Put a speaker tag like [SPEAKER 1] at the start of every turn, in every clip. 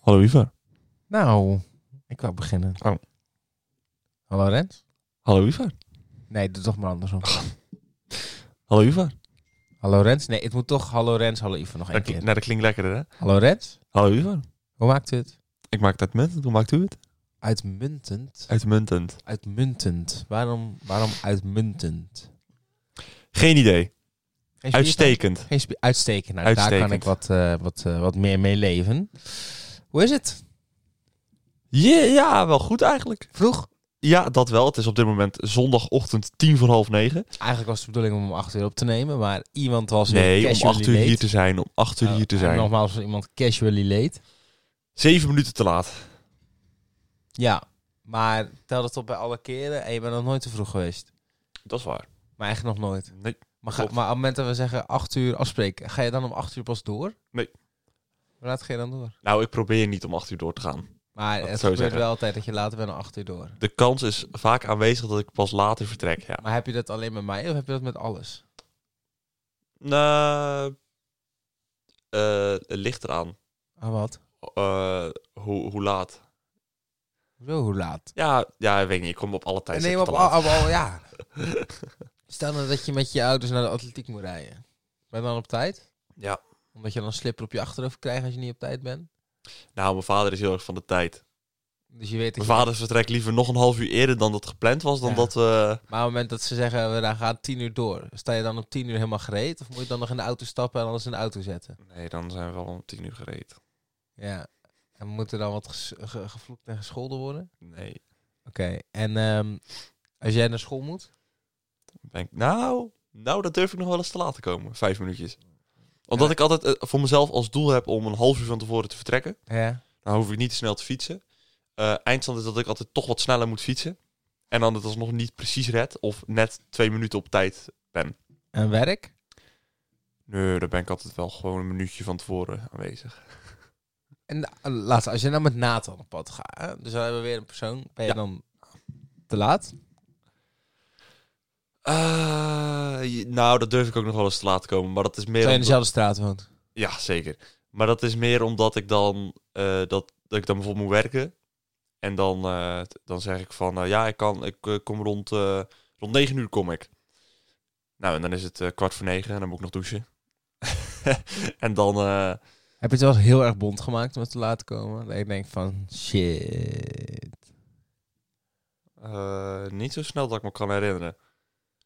[SPEAKER 1] Hallo Ivar.
[SPEAKER 2] Nou, ik wou beginnen.
[SPEAKER 1] Oh.
[SPEAKER 2] Hallo Rens?
[SPEAKER 1] Hallo Ivar.
[SPEAKER 2] Nee, doe toch maar andersom.
[SPEAKER 1] Hallo Ivar.
[SPEAKER 2] Hallo Rens? Nee, het moet toch hallo Rens, hallo Ivan nog één
[SPEAKER 1] Dat, kli-
[SPEAKER 2] keer.
[SPEAKER 1] nou, dat klinkt lekkerder hè?
[SPEAKER 2] Hallo Rens?
[SPEAKER 1] Hallo Ivar.
[SPEAKER 2] Hoe maakt u het?
[SPEAKER 1] Ik maak dat muntend. Hoe maakt u het?
[SPEAKER 2] Uitmuntend.
[SPEAKER 1] Uitmuntend.
[SPEAKER 2] Uitmuntend. Waarom, waarom uitmuntend?
[SPEAKER 1] Geen idee.
[SPEAKER 2] Geen spierpijn?
[SPEAKER 1] Uitstekend.
[SPEAKER 2] Geen spie- uitstekend. Nou, Daar
[SPEAKER 1] Uitstekend.
[SPEAKER 2] kan ik wat, eh, wat, eh, wat meer mee leven. Hoe is het?
[SPEAKER 1] Ja, ja, wel goed eigenlijk.
[SPEAKER 2] Vroeg?
[SPEAKER 1] Ja, dat wel. Het is op dit moment zondagochtend tien voor half negen.
[SPEAKER 2] Eigenlijk was de bedoeling om om acht uur op te nemen, maar iemand was weer
[SPEAKER 1] Nee, om
[SPEAKER 2] casually
[SPEAKER 1] acht uur
[SPEAKER 2] late.
[SPEAKER 1] hier te zijn. Om acht uur
[SPEAKER 2] Oh,
[SPEAKER 1] hier te
[SPEAKER 2] en
[SPEAKER 1] zijn.
[SPEAKER 2] Nogmaals, was iemand casually late.
[SPEAKER 1] Zeven minuten te laat.
[SPEAKER 2] Ja, maar tel dat op bij alle keren en je bent nog nooit te vroeg geweest.
[SPEAKER 1] Dat is waar.
[SPEAKER 2] Maar eigenlijk nog nooit.
[SPEAKER 1] Nee.
[SPEAKER 2] Maar, ga,
[SPEAKER 1] Klopt.
[SPEAKER 2] maar op het moment dat we zeggen acht uur afspreken, ga je dan om acht uur pas door?
[SPEAKER 1] Nee.
[SPEAKER 2] Hoe laat ga je dan door?
[SPEAKER 1] Nou, ik probeer niet om acht uur door te gaan.
[SPEAKER 2] Maar
[SPEAKER 1] het
[SPEAKER 2] het
[SPEAKER 1] zo
[SPEAKER 2] gebeurt
[SPEAKER 1] zeggen.
[SPEAKER 2] wel altijd dat je later bent dan acht uur door.
[SPEAKER 1] De kans is vaak aanwezig dat ik pas later vertrek. Ja.
[SPEAKER 2] Maar heb je dat alleen met mij of heb je dat met alles?
[SPEAKER 1] Nou, eh, het ligt eraan.
[SPEAKER 2] Ah, wat?
[SPEAKER 1] Eh, hoe, hoe laat?
[SPEAKER 2] Zo, hoe laat?
[SPEAKER 1] Ja, ja, ik weet niet. Ik kom op alle tijd.
[SPEAKER 2] Nee,
[SPEAKER 1] zit
[SPEAKER 2] maar
[SPEAKER 1] ik
[SPEAKER 2] op,
[SPEAKER 1] te laat.
[SPEAKER 2] al- op al- ja. Stel nou dat je met je ouders naar de atletiek moet rijden. Ben je dan op tijd?
[SPEAKER 1] Ja.
[SPEAKER 2] Omdat je dan een slipper op je achterhoofd krijgt als je niet op tijd bent?
[SPEAKER 1] Nou, mijn vader is heel erg van de tijd.
[SPEAKER 2] Dus je weet dat
[SPEAKER 1] Mijn
[SPEAKER 2] je-
[SPEAKER 1] vader vertrekt liever nog een half uur eerder dan dat gepland was. Dan
[SPEAKER 2] Ja.
[SPEAKER 1] dat we...
[SPEAKER 2] Maar op het moment dat ze zeggen, we gaan tien uur door. Sta je dan om tien uur helemaal gereed? Of moet je dan nog in de auto stappen en alles in de auto zetten?
[SPEAKER 1] Nee, dan zijn we al om tien uur gereed.
[SPEAKER 2] Ja. En moet er dan wat ges- ge- gevloekt en gescholden worden?
[SPEAKER 1] Nee.
[SPEAKER 2] Oké. En ehm, als jij naar school moet?
[SPEAKER 1] Ben ik- Nou, nou, dat durf ik nog wel eens te laten komen. Vijf minuutjes. Omdat ik altijd eh, voor mezelf als doel heb om een half uur van tevoren te vertrekken.
[SPEAKER 2] Ja.
[SPEAKER 1] Dan hoef ik niet te snel te fietsen. Eh, eindstand is dat ik altijd toch wat sneller moet fietsen. En dan het alsnog niet precies red. Of net twee minuten op tijd.
[SPEAKER 2] En werk?
[SPEAKER 1] Nee, daar ben ik altijd wel gewoon een minuutje van tevoren aanwezig.
[SPEAKER 2] En eh, laatste, als je nou met Nathan op pad gaat. hè, Dus dan hebben we weer een persoon. Ben je
[SPEAKER 1] Ja.
[SPEAKER 2] dan te laat?
[SPEAKER 1] Eh, je- nou, dat durf ik ook nog wel eens te laten komen. Maar dat is meer.
[SPEAKER 2] Terwijl je in
[SPEAKER 1] omdat-
[SPEAKER 2] dezelfde straat woont.
[SPEAKER 1] Ja, zeker. Maar dat is meer omdat ik dan. eh, dat, dat ik dan bijvoorbeeld moet werken. En dan, eh, t- dan zeg ik van. eh, ja, ik, kan, ik eh, kom rond. eh, rond 9 uur kom ik. Nou, en dan is het eh, kwart voor negen. En dan moet ik nog douchen. en dan. eh,
[SPEAKER 2] Heb je het wel eens heel erg bond gemaakt om het te laten komen? Dat ik denk van, shit.
[SPEAKER 1] eh, niet zo snel dat ik me kan herinneren.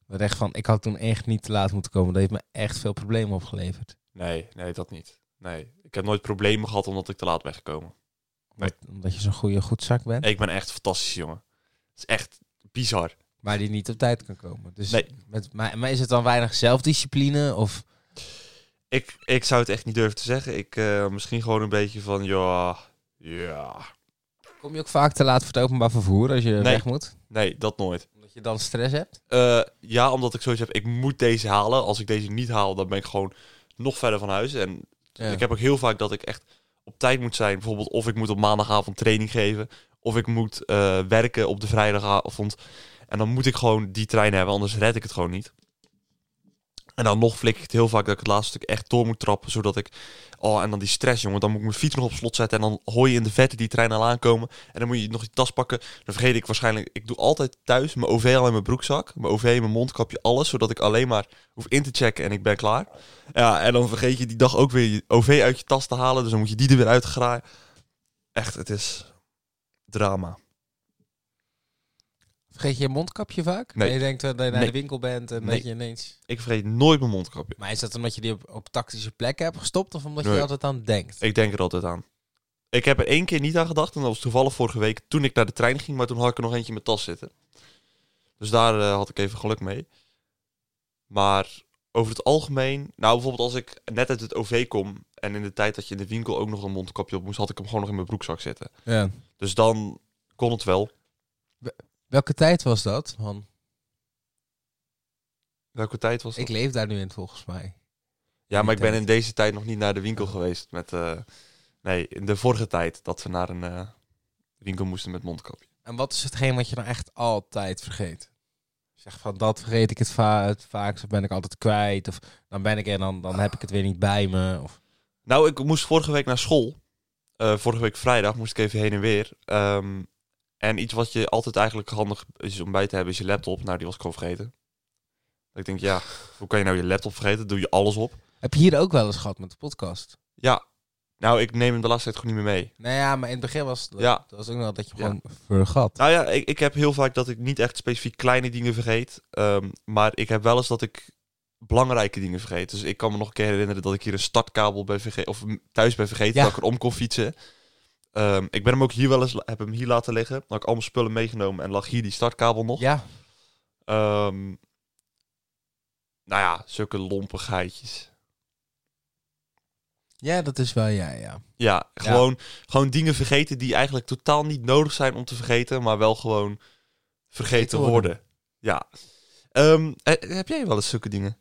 [SPEAKER 2] Dat ik echt van, ik had toen echt niet te laat moeten komen. Dat heeft me echt veel problemen opgeleverd.
[SPEAKER 1] Nee, nee, dat niet. Nee. Ik heb nooit problemen gehad omdat ik te laat ben gekomen. Nee.
[SPEAKER 2] Omdat, omdat je zo'n goede goed zak bent.
[SPEAKER 1] Ik ben echt een fantastische jongen. Het is echt bizar.
[SPEAKER 2] Maar die niet op tijd kan komen. Dus
[SPEAKER 1] Nee.
[SPEAKER 2] met, maar, maar is het dan weinig zelfdiscipline? Of
[SPEAKER 1] Ik, ik zou het echt niet durven te zeggen. Ik, eh, misschien gewoon een beetje van, ja, ja.
[SPEAKER 2] kom je ook vaak te laat voor het openbaar vervoer als je weg moet?
[SPEAKER 1] Nee, dat nooit.
[SPEAKER 2] Omdat je dan stress hebt?
[SPEAKER 1] Eh, ja, omdat ik zoiets heb, ik moet deze halen. Als ik deze niet haal, dan ben ik gewoon nog verder van huis. En
[SPEAKER 2] Ja.
[SPEAKER 1] ik heb ook heel vaak dat ik echt op tijd moet zijn. Bijvoorbeeld of ik moet op maandagavond training geven. Of ik moet eh, werken op de vrijdagavond. En dan moet ik gewoon die trein hebben, anders red ik het gewoon niet. En dan nog flik ik het heel vaak dat ik het laatste stuk echt door moet trappen. Zodat ik... Oh, en dan die stress, jongen. Dan moet ik mijn fiets nog op slot zetten. En dan hoor je in de vette die trein al aankomen. En dan moet je nog je tas pakken. Dan vergeet ik waarschijnlijk... Ik doe altijd thuis mijn OV al in mijn broekzak. Mijn OV, mijn mondkapje, alles. Zodat ik alleen maar hoef in te checken en ik ben klaar. Ja, en dan vergeet je die dag ook weer je OV uit je tas te halen. Dus dan moet je die er weer uit graaien. Echt, het is drama.
[SPEAKER 2] Vergeet je je mondkapje vaak?
[SPEAKER 1] Nee.
[SPEAKER 2] En je denkt eh, dat je naar
[SPEAKER 1] Nee.
[SPEAKER 2] de winkel bent en
[SPEAKER 1] Nee.
[SPEAKER 2] dat je ineens...
[SPEAKER 1] Ik vergeet nooit mijn mondkapje.
[SPEAKER 2] Maar is dat omdat je die op, op tactische plekken hebt gestopt? Of omdat je
[SPEAKER 1] Nee.
[SPEAKER 2] er altijd aan denkt?
[SPEAKER 1] Ik denk er altijd aan. Ik heb er één keer niet aan gedacht. En dat was toevallig vorige week toen ik naar de trein ging. Maar toen had ik er nog eentje in mijn tas zitten. Dus daar eh, had ik even geluk mee. Maar over het algemeen... Nou, bijvoorbeeld als ik net uit het OV kom... En in de tijd dat je in de winkel ook nog een mondkapje op moest... had ik hem gewoon nog in mijn broekzak zitten.
[SPEAKER 2] Ja.
[SPEAKER 1] Dus dan kon het wel.
[SPEAKER 2] Welke tijd was dat? Man,
[SPEAKER 1] Welke tijd was dat?
[SPEAKER 2] ik leef daar nu in volgens mij.
[SPEAKER 1] Ja, maar ik
[SPEAKER 2] die
[SPEAKER 1] ben
[SPEAKER 2] tijd.
[SPEAKER 1] in deze tijd nog niet naar de winkel geweest met... eh, nee, in de vorige tijd dat we naar een eh, winkel moesten met mondkapje.
[SPEAKER 2] En wat is hetgeen wat je nou echt altijd vergeet? Zeg van dat vergeet ik het, va het vaakst, of ben ik altijd kwijt, of dan ben ik er en dan, dan heb ik het weer niet bij me. Of...
[SPEAKER 1] Nou, ik moest vorige week naar school. Eh, vorige week vrijdag moest ik even heen en weer. Ehm, en iets wat je altijd eigenlijk handig is om bij te hebben is je laptop. Nou, die was ik gewoon vergeten. Ik denk, ja, hoe kan je nou je laptop vergeten? Doe je alles op?
[SPEAKER 2] Heb je hier ook wel eens gehad met de podcast?
[SPEAKER 1] Ja. Nou, ik neem hem de laatste tijd gewoon niet meer mee.
[SPEAKER 2] Nou ja, maar in het begin was het
[SPEAKER 1] Ja.
[SPEAKER 2] dat was ook nog dat je hem
[SPEAKER 1] Ja.
[SPEAKER 2] gewoon vergat.
[SPEAKER 1] Nou ja, ik, ik heb heel vaak dat ik niet echt specifiek kleine dingen vergeet. ehm, maar ik heb wel eens dat ik belangrijke dingen vergeet. Dus ik kan me nog een keer herinneren dat ik hier een startkabel ben vergeten. Of m- thuis ben vergeten
[SPEAKER 2] Ja.
[SPEAKER 1] dat ik erom kon fietsen. Ehm, ik ben hem ook hier wel eens, la- heb hem hier laten liggen. Dan had ik al mijn spullen meegenomen en lag hier die startkabel nog.
[SPEAKER 2] Ja,
[SPEAKER 1] Ehm, nou ja, zulke lompigheidjes.
[SPEAKER 2] ja, dat is wel jij, ja.
[SPEAKER 1] Ja,
[SPEAKER 2] Ja.
[SPEAKER 1] gewoon, gewoon dingen vergeten die eigenlijk totaal niet nodig zijn om te vergeten, maar wel gewoon vergeten
[SPEAKER 2] Vergeten
[SPEAKER 1] worden.
[SPEAKER 2] worden.
[SPEAKER 1] Ja. Ehm, he- heb jij wel eens zulke dingen?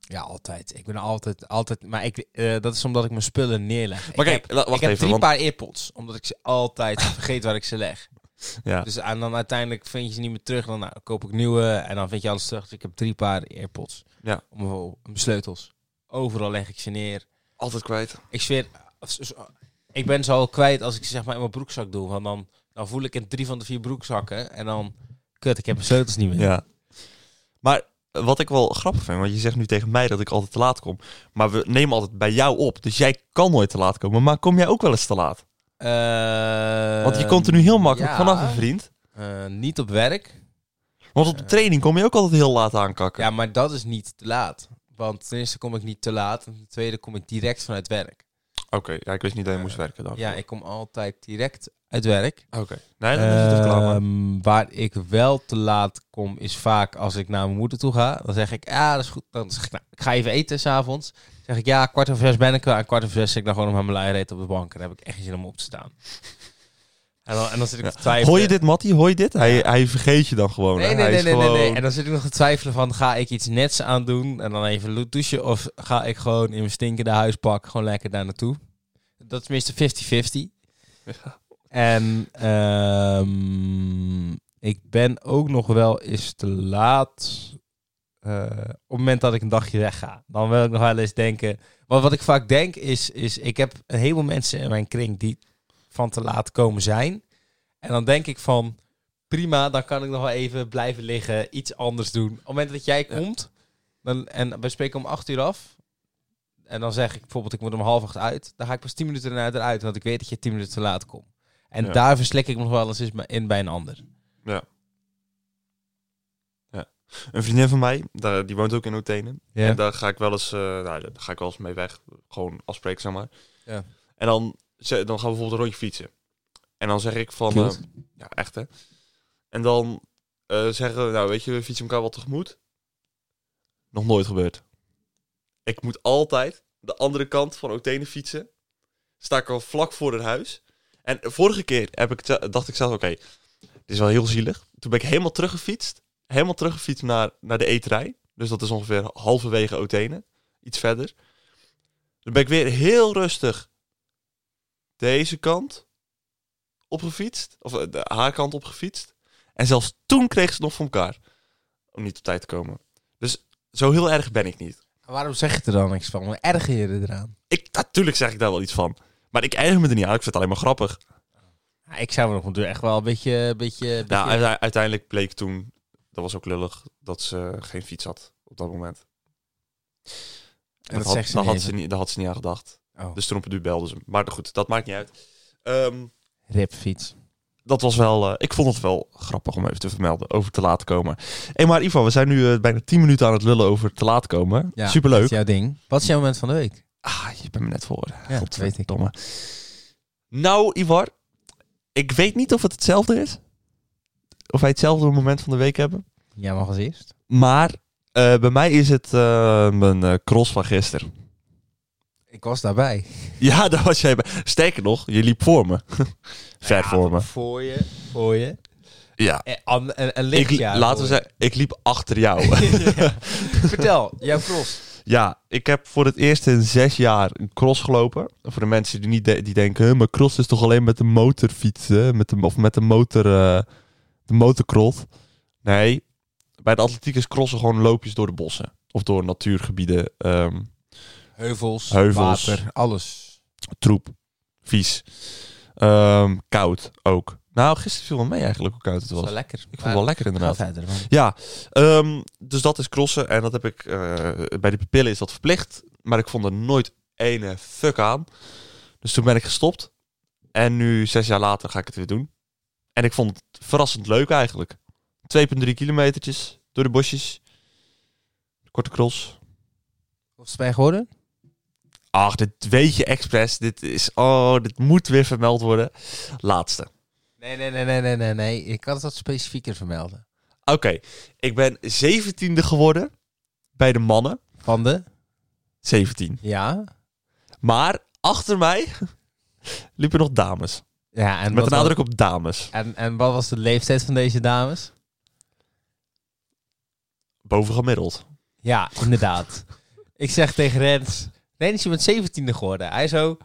[SPEAKER 2] Ja, altijd. Ik ben altijd, altijd. Maar ik, eh, dat is omdat ik mijn spullen neerleg.
[SPEAKER 1] Maar
[SPEAKER 2] ik
[SPEAKER 1] kijk,
[SPEAKER 2] heb,
[SPEAKER 1] la-
[SPEAKER 2] ik
[SPEAKER 1] wacht
[SPEAKER 2] heb
[SPEAKER 1] even.
[SPEAKER 2] drie
[SPEAKER 1] Want,
[SPEAKER 2] paar earpods, omdat ik ze altijd vergeet waar ik ze leg.
[SPEAKER 1] ja.
[SPEAKER 2] Dus en dan uiteindelijk vind je ze niet meer terug. Dan nou, koop ik nieuwe en dan vind je alles terug. Dus ik heb drie paar AirPods.
[SPEAKER 1] Ja.
[SPEAKER 2] Om, om mijn sleutels. Overal leg ik ze neer.
[SPEAKER 1] Altijd kwijt.
[SPEAKER 2] Ik zweer, als- als- ik ben ze al kwijt als ik ze zeg maar in mijn broekzak doe. Want dan, dan voel ik in drie van de vier broekzakken. En dan, kut, ik heb mijn sleutels niet meer.
[SPEAKER 1] Ja. Maar eh, wat ik wel grappig vind, want je zegt nu tegen mij dat ik altijd te laat kom. Maar we nemen altijd bij jou op, dus jij kan nooit te laat komen. Maar kom jij ook wel eens te laat?
[SPEAKER 2] Eh,
[SPEAKER 1] Want je komt er nu heel makkelijk
[SPEAKER 2] ja.
[SPEAKER 1] vanaf, een vriend.
[SPEAKER 2] Eh, niet op werk.
[SPEAKER 1] Want op de training kom je ook altijd heel laat aankakken.
[SPEAKER 2] Ja, maar dat is niet te laat. Want ten eerste kom ik niet te laat. En ten tweede kom ik direct vanuit werk.
[SPEAKER 1] Oké, ja, ik wist niet dat je moest werken dan.
[SPEAKER 2] Eh, Ja, ik kom altijd direct uit werk.
[SPEAKER 1] Oké. Nee, dan is het toch klaar. maar-
[SPEAKER 2] Ehm, waar ik wel te laat kom, is vaak als ik naar mijn moeder toe ga. Dan zeg ik, ja, dat is goed. Dan zeg ik, nou, ik ga even eten s'avonds. Dan zeg ik, ja, kwart over zes ben ik wel. En kwart over zes zit ik dan gewoon op mijn lui reet op de bank. En dan heb ik echt geen zin om op te staan. En dan, en dan zit ik
[SPEAKER 1] Ja.
[SPEAKER 2] te twijfelen.
[SPEAKER 1] Hoor je dit, Matty? Hoor je dit? Hij, hij vergeet je dan gewoon. hè?
[SPEAKER 2] Nee, nee,
[SPEAKER 1] hij
[SPEAKER 2] nee,
[SPEAKER 1] is
[SPEAKER 2] nee, nee, nee.
[SPEAKER 1] gewoon-
[SPEAKER 2] En dan zit ik nog te twijfelen van, ga ik iets nets aan doen en dan even lo- douchen? Of ga ik gewoon in mijn stinkende huispak gewoon lekker daar naartoe? Dat is meestal 50-50. En ehm, ik ben ook nog wel eens te laat eh, op het moment dat ik een dagje wegga. Dan wil ik nog wel eens denken... Maar wat ik vaak denk is, is ik heb een heleboel mensen in mijn kring die van te laat komen zijn. En dan denk ik van, prima, dan kan ik nog wel even blijven liggen, iets anders doen. Op het moment dat jij
[SPEAKER 1] Ja.
[SPEAKER 2] komt, dan, en we spreken om acht uur af. En dan zeg ik bijvoorbeeld, ik moet om half acht uit. Dan ga ik pas tien minuten daarna eruit, want ik weet dat je tien minuten te laat komt. En
[SPEAKER 1] Ja.
[SPEAKER 2] daar verslik ik me nog wel eens eens in bij een ander.
[SPEAKER 1] Een vriendin van mij, daar, die woont ook in Othene. En daar ga ik wel eens, eh, nou, daar ga ik wel eens mee weg. Gewoon afspreken, zeg maar.
[SPEAKER 2] Ja.
[SPEAKER 1] En dan, ze- dan gaan we bijvoorbeeld een rondje fietsen. En dan zeg ik van...
[SPEAKER 2] Cute.
[SPEAKER 1] eh, ja, echt hè. En dan eh, zeggen we, nou weet je, we fietsen elkaar wel tegemoet. Nog nooit gebeurd. Ik moet altijd de andere kant van Othene fietsen. Sta ik al vlak voor het huis. En vorige keer heb ik te- dacht ik zelf, oké, dit is wel heel zielig. Toen ben ik helemaal teruggefietst. Helemaal teruggefietst naar, naar de eterij. Dus dat is ongeveer halverwege Othene. Iets verder. Dan ben ik weer heel rustig deze kant opgefietst. Of eh, de, haar kant opgefietst. En zelfs toen kreeg ze het nog voor elkaar. Om niet op tijd te komen. Dus zo heel erg ben ik niet.
[SPEAKER 2] eh, Waarom zeg je er dan niks van? Hoe erger je je eraan?
[SPEAKER 1] Ik, natuurlijk zeg ik daar wel iets van. Maar ik erger me er niet aan. Ik vind het alleen maar grappig.
[SPEAKER 2] Ja, ik zou me nog natuurlijk echt wel een beetje... Een beetje, een
[SPEAKER 1] Nou,
[SPEAKER 2] beetje-
[SPEAKER 1] uite- uiteindelijk bleek toen, dat was ook lullig, dat ze geen fiets had op dat moment.
[SPEAKER 2] en dat
[SPEAKER 1] had,
[SPEAKER 2] zegt ze
[SPEAKER 1] daar
[SPEAKER 2] niet
[SPEAKER 1] had
[SPEAKER 2] eens.
[SPEAKER 1] ze niet. Daar had ze niet aan gedacht.
[SPEAKER 2] Oh.
[SPEAKER 1] Dus toen op het duur belde ze. me. Maar goed, dat maakt niet uit. Ehm,
[SPEAKER 2] Rip fiets.
[SPEAKER 1] dat was wel, eh, ik vond het wel grappig om even te vermelden, over te laat komen. Hey, maar Ivan, we zijn nu eh, bijna 10 minuten aan het lullen over te laat komen. Superleuk.
[SPEAKER 2] Dat is jouw ding. Wat is jouw moment van de week?
[SPEAKER 1] Ah, je bent me net voor.
[SPEAKER 2] Ja, dat weet ik.
[SPEAKER 1] Domme. Nou, Ivar, ik weet niet of het hetzelfde is. Of wij hetzelfde moment van de week hebben.
[SPEAKER 2] Jij mag als eerst.
[SPEAKER 1] Maar eh, bij mij is het eh, mijn eh, cross van gisteren.
[SPEAKER 2] Ik was daarbij.
[SPEAKER 1] Ja, daar was jij bij. Sterker nog, je liep voor me. Ver voor me.
[SPEAKER 2] Voor je. Voor je.
[SPEAKER 1] Ja.
[SPEAKER 2] En, Eh, an- en, en
[SPEAKER 1] Ik,
[SPEAKER 2] licht,
[SPEAKER 1] li-
[SPEAKER 2] ja,
[SPEAKER 1] laten we
[SPEAKER 2] voor
[SPEAKER 1] zeggen, ik liep achter jou.
[SPEAKER 2] je. Ja. Vertel, jouw cross.
[SPEAKER 1] ja, ik heb voor het eerst in zes jaar een cross gelopen. Voor de mensen die, niet de- die denken, "Huh, maar cross is toch alleen met de motor fietsen? Met de, of met de motor, eh de motorcross? Nee, bij de atletiek is crossen gewoon loopjes door de bossen. Of door natuurgebieden. ehm,
[SPEAKER 2] Heuvels,
[SPEAKER 1] Heuvels.
[SPEAKER 2] water, alles.
[SPEAKER 1] troep, vies, Ehm, koud ook. Nou, gisteren viel wel mee eigenlijk hoe koud het
[SPEAKER 2] Dat is
[SPEAKER 1] was.
[SPEAKER 2] wel lekker. Ik
[SPEAKER 1] vond het wel lekker inderdaad.
[SPEAKER 2] Verder, man.
[SPEAKER 1] Ja, ehm, dus dat is crossen en dat heb ik eh, bij de pupillen is dat verplicht, maar ik vond er nooit ene fuck aan. Dus toen ben ik gestopt en nu zes jaar later ga ik het weer doen. En ik vond het verrassend leuk eigenlijk. 2,3 kilometertjes door de bosjes, korte cross.
[SPEAKER 2] Of is het bij geworden?
[SPEAKER 1] Ach, dit weet je expres. Dit is oh, dit moet weer vermeld worden. Laatste.
[SPEAKER 2] Nee, nee, nee, nee, nee, nee, nee. Ik had het wat specifieker vermelden.
[SPEAKER 1] Oké, ik ben 17e geworden bij de mannen.
[SPEAKER 2] Van de?
[SPEAKER 1] 17.
[SPEAKER 2] Ja.
[SPEAKER 1] Maar achter mij liepen nog dames.
[SPEAKER 2] Ja, en
[SPEAKER 1] Met
[SPEAKER 2] wat
[SPEAKER 1] de
[SPEAKER 2] was-
[SPEAKER 1] nadruk op dames.
[SPEAKER 2] En, en wat was de leeftijd van deze dames?
[SPEAKER 1] Bovengemiddeld.
[SPEAKER 2] Ja, inderdaad. ik zeg tegen Rens... Nee, is je bent 17 geworden. Hij zo...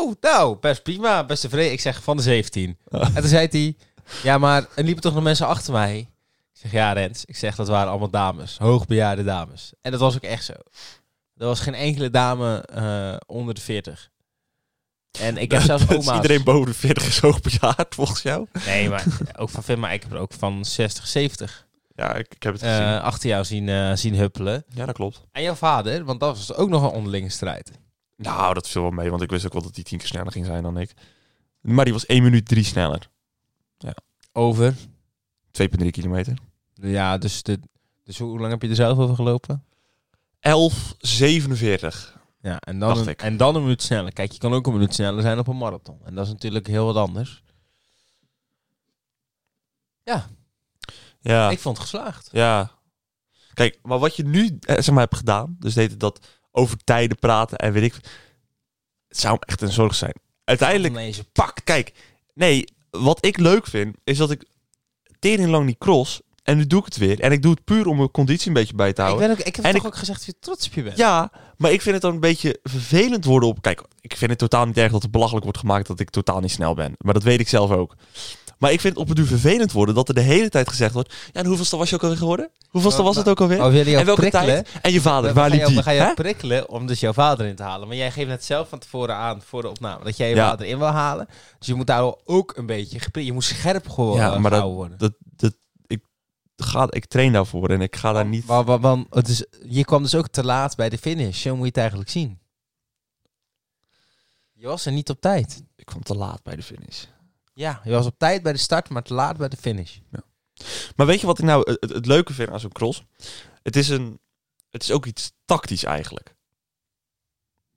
[SPEAKER 2] Oh, nou, best prima, best tevreden. Ik zeg van de 17. En toen zei hij... Ja, maar er liepen toch nog mensen achter mij? Ik zeg, ja Rens. Ik zeg, dat waren allemaal dames. Hoogbejaarde dames. En dat was ook echt zo. Er was geen enkele dame eh, onder de 40. En ik heb zelfs
[SPEAKER 1] Dus
[SPEAKER 2] oma's...
[SPEAKER 1] iedereen boven de 40 is hoogbejaard volgens jou.
[SPEAKER 2] Nee, maar ook van film, maar ik heb er ook van 60, 70
[SPEAKER 1] Ja, ik, ik heb het
[SPEAKER 2] eh,
[SPEAKER 1] gezien.
[SPEAKER 2] achter jou zien, eh, zien huppelen.
[SPEAKER 1] Ja, dat klopt.
[SPEAKER 2] En jouw vader, want dat was ook nog een onderlinge strijd.
[SPEAKER 1] Nou, dat viel wel mee, want ik wist ook wel dat die tien keer sneller ging zijn dan ik. Maar die was 1 minuut 3 sneller.
[SPEAKER 2] Over?
[SPEAKER 1] 2,3 kilometer.
[SPEAKER 2] Ja, dus, de, dus hoe hoe lang heb je er zelf over gelopen?
[SPEAKER 1] 11,47.
[SPEAKER 2] Ja,
[SPEAKER 1] Dacht
[SPEAKER 2] en dan, een,
[SPEAKER 1] ik.
[SPEAKER 2] en dan een minuut sneller. Kijk, je kan ook een minuut sneller zijn op een marathon. En dat is natuurlijk heel wat anders.
[SPEAKER 1] Ja.
[SPEAKER 2] Ik vond het geslaagd.
[SPEAKER 1] Ja. Kijk, maar wat je nu eh, zeg maar, hebt gedaan, dus deed het dat over tijden praten en weet ik. Het zou me echt een zorg zijn. Uiteindelijk,
[SPEAKER 2] Nee, ze-
[SPEAKER 1] pak, kijk. Nee, wat ik leuk vind, is dat ik tering lang niet cross. En nu doe ik het weer. En ik doe het puur om mijn conditie een beetje bij te
[SPEAKER 2] ik,
[SPEAKER 1] houden.
[SPEAKER 2] ben ook, ik heb
[SPEAKER 1] En
[SPEAKER 2] toch
[SPEAKER 1] ik-
[SPEAKER 2] ook gezegd dat je trots op je bent.
[SPEAKER 1] Nou, Ja, maar ik vind het dan een beetje vervelend worden op... Kijk, ik vind het totaal niet erg dat het belachelijk wordt gemaakt dat ik totaal niet snel ben. Maar dat weet ik zelf ook. Maar ik vind het op het duur vervelend worden dat er de hele tijd gezegd wordt... Ja, en hoeveelste was je ook alweer geworden? Hoeveelste
[SPEAKER 2] Oh,
[SPEAKER 1] was het ook alweer?
[SPEAKER 2] Oh, willen jou
[SPEAKER 1] en welke
[SPEAKER 2] prikkelen?
[SPEAKER 1] tijd? En je vader,
[SPEAKER 2] we,
[SPEAKER 1] waar
[SPEAKER 2] gaan
[SPEAKER 1] liep
[SPEAKER 2] jou,
[SPEAKER 1] die?
[SPEAKER 2] we gaan jou
[SPEAKER 1] Hè?
[SPEAKER 2] prikkelen om dus jouw vader in te halen. Maar jij geeft net zelf van tevoren aan voor de opname dat jij je
[SPEAKER 1] Ja.
[SPEAKER 2] vader in wil halen. Dus je moet daar wel ook een beetje gepri- Je moet scherp gewoon
[SPEAKER 1] Ja,
[SPEAKER 2] eh,
[SPEAKER 1] maar dat-
[SPEAKER 2] gehouden worden.
[SPEAKER 1] Dat, dat, ik, ga, ik train daarvoor en ik ga daar niet...
[SPEAKER 2] Want, want, want het is, je kwam dus ook te laat bij de finish. Zo moet je het eigenlijk zien. Je was er niet op tijd.
[SPEAKER 1] Ik kwam te laat bij de finish.
[SPEAKER 2] Ja, je was op tijd bij de start, maar te laat bij de finish.
[SPEAKER 1] Maar weet je wat ik nou het, het leuke vind aan zo'n cross? Het is, een, het is ook iets tactisch eigenlijk.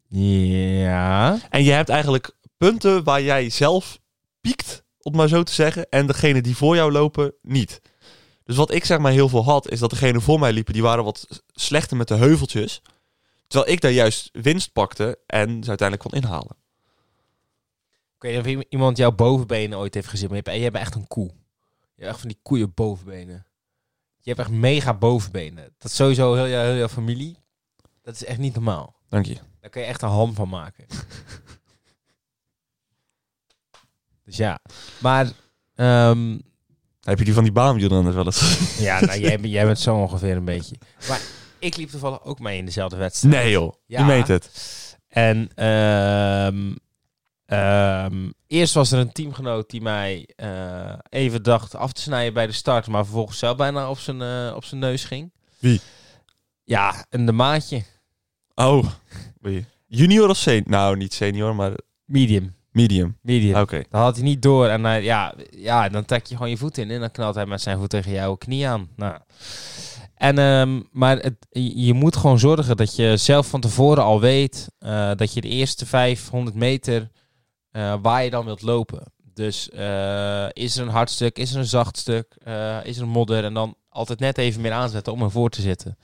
[SPEAKER 2] Ja.
[SPEAKER 1] En je hebt eigenlijk punten waar jij zelf piekt, om maar zo te zeggen, en degene die voor jou lopen niet. Dus wat ik zeg maar heel veel had, is dat degene voor mij liepen, die waren wat s- slechter met de heuveltjes. Terwijl ik daar juist winst pakte en ze uiteindelijk kon inhalen.
[SPEAKER 2] Ik weet niet of i- iemand jouw bovenbenen ooit heeft gezien, maar je hebt, je hebt echt een koe. Je hebt echt van die koeien bovenbenen. Je hebt echt mega bovenbenen. Dat is sowieso heel jouw, heel jouw familie. Dat is echt niet normaal.
[SPEAKER 1] Dank je.
[SPEAKER 2] Daar kun je echt een ham van maken. dus ja. Maar, ehm,
[SPEAKER 1] Heb je die van die baanwielrenners wel eens?
[SPEAKER 2] ja, nou, jij, bent- jij bent zo ongeveer een beetje. Maar ik liep toevallig ook mee in dezelfde wedstrijd.
[SPEAKER 1] Nee joh,
[SPEAKER 2] Ja.
[SPEAKER 1] je meent het.
[SPEAKER 2] En ehm, ehm, eerst was er een teamgenoot die mij eh, even dacht af te snijden bij de start, maar vervolgens zelf bijna op zijn, eh, op zijn neus ging.
[SPEAKER 1] Wie?
[SPEAKER 2] Ja, een de maatje.
[SPEAKER 1] Oh, Wie? junior of senior? Nou, niet senior, maar
[SPEAKER 2] Medium.
[SPEAKER 1] medium. Ah,
[SPEAKER 2] Medium.
[SPEAKER 1] Oké.
[SPEAKER 2] Dat had hij niet door. En hij, ja, ja, dan trek je gewoon je voet in. En dan knalt hij met zijn voet tegen jouw knie aan. Nou. En, ehm, maar het, je je moet gewoon zorgen dat je zelf van tevoren al weet... eh, dat je de eerste 500 meter eh, waar je dan wilt lopen. Dus eh, is er een hard stuk, is er een zacht stuk, eh, is er een modder... en dan altijd net even meer aanzetten om ervoor te zitten.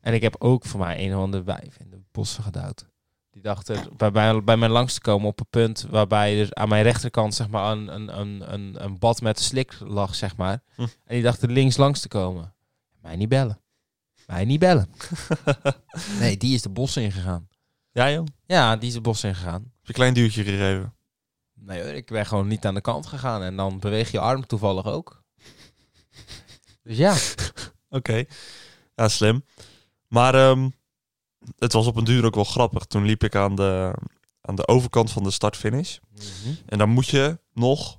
[SPEAKER 2] En ik heb ook voor mij een of ander wijf in de bossen gedouwd. Die dacht er bij, bij, bij mij langs te komen op een punt waarbij er aan mijn rechterkant zeg maar, een, een, een, een, een bad met slik lag. Zeg maar.
[SPEAKER 1] Hm.
[SPEAKER 2] En die dacht er links langs te komen. Mij niet bellen. Mij niet bellen. nee, die is de bos ingegaan.
[SPEAKER 1] Ja joh,
[SPEAKER 2] Ja, die is de bos
[SPEAKER 1] heb
[SPEAKER 2] ingegaan.
[SPEAKER 1] je een klein duwtje gegeven.
[SPEAKER 2] Nee hoor, ik ben gewoon niet aan de kant gegaan. En dan beweeg je arm toevallig ook. Dus ja,
[SPEAKER 1] Oké. Ja, slim. Maar ehm, het was op een duur ook wel grappig. Toen liep ik aan de, aan de overkant van de start-finish.
[SPEAKER 2] Mhm.
[SPEAKER 1] En dan moet je nog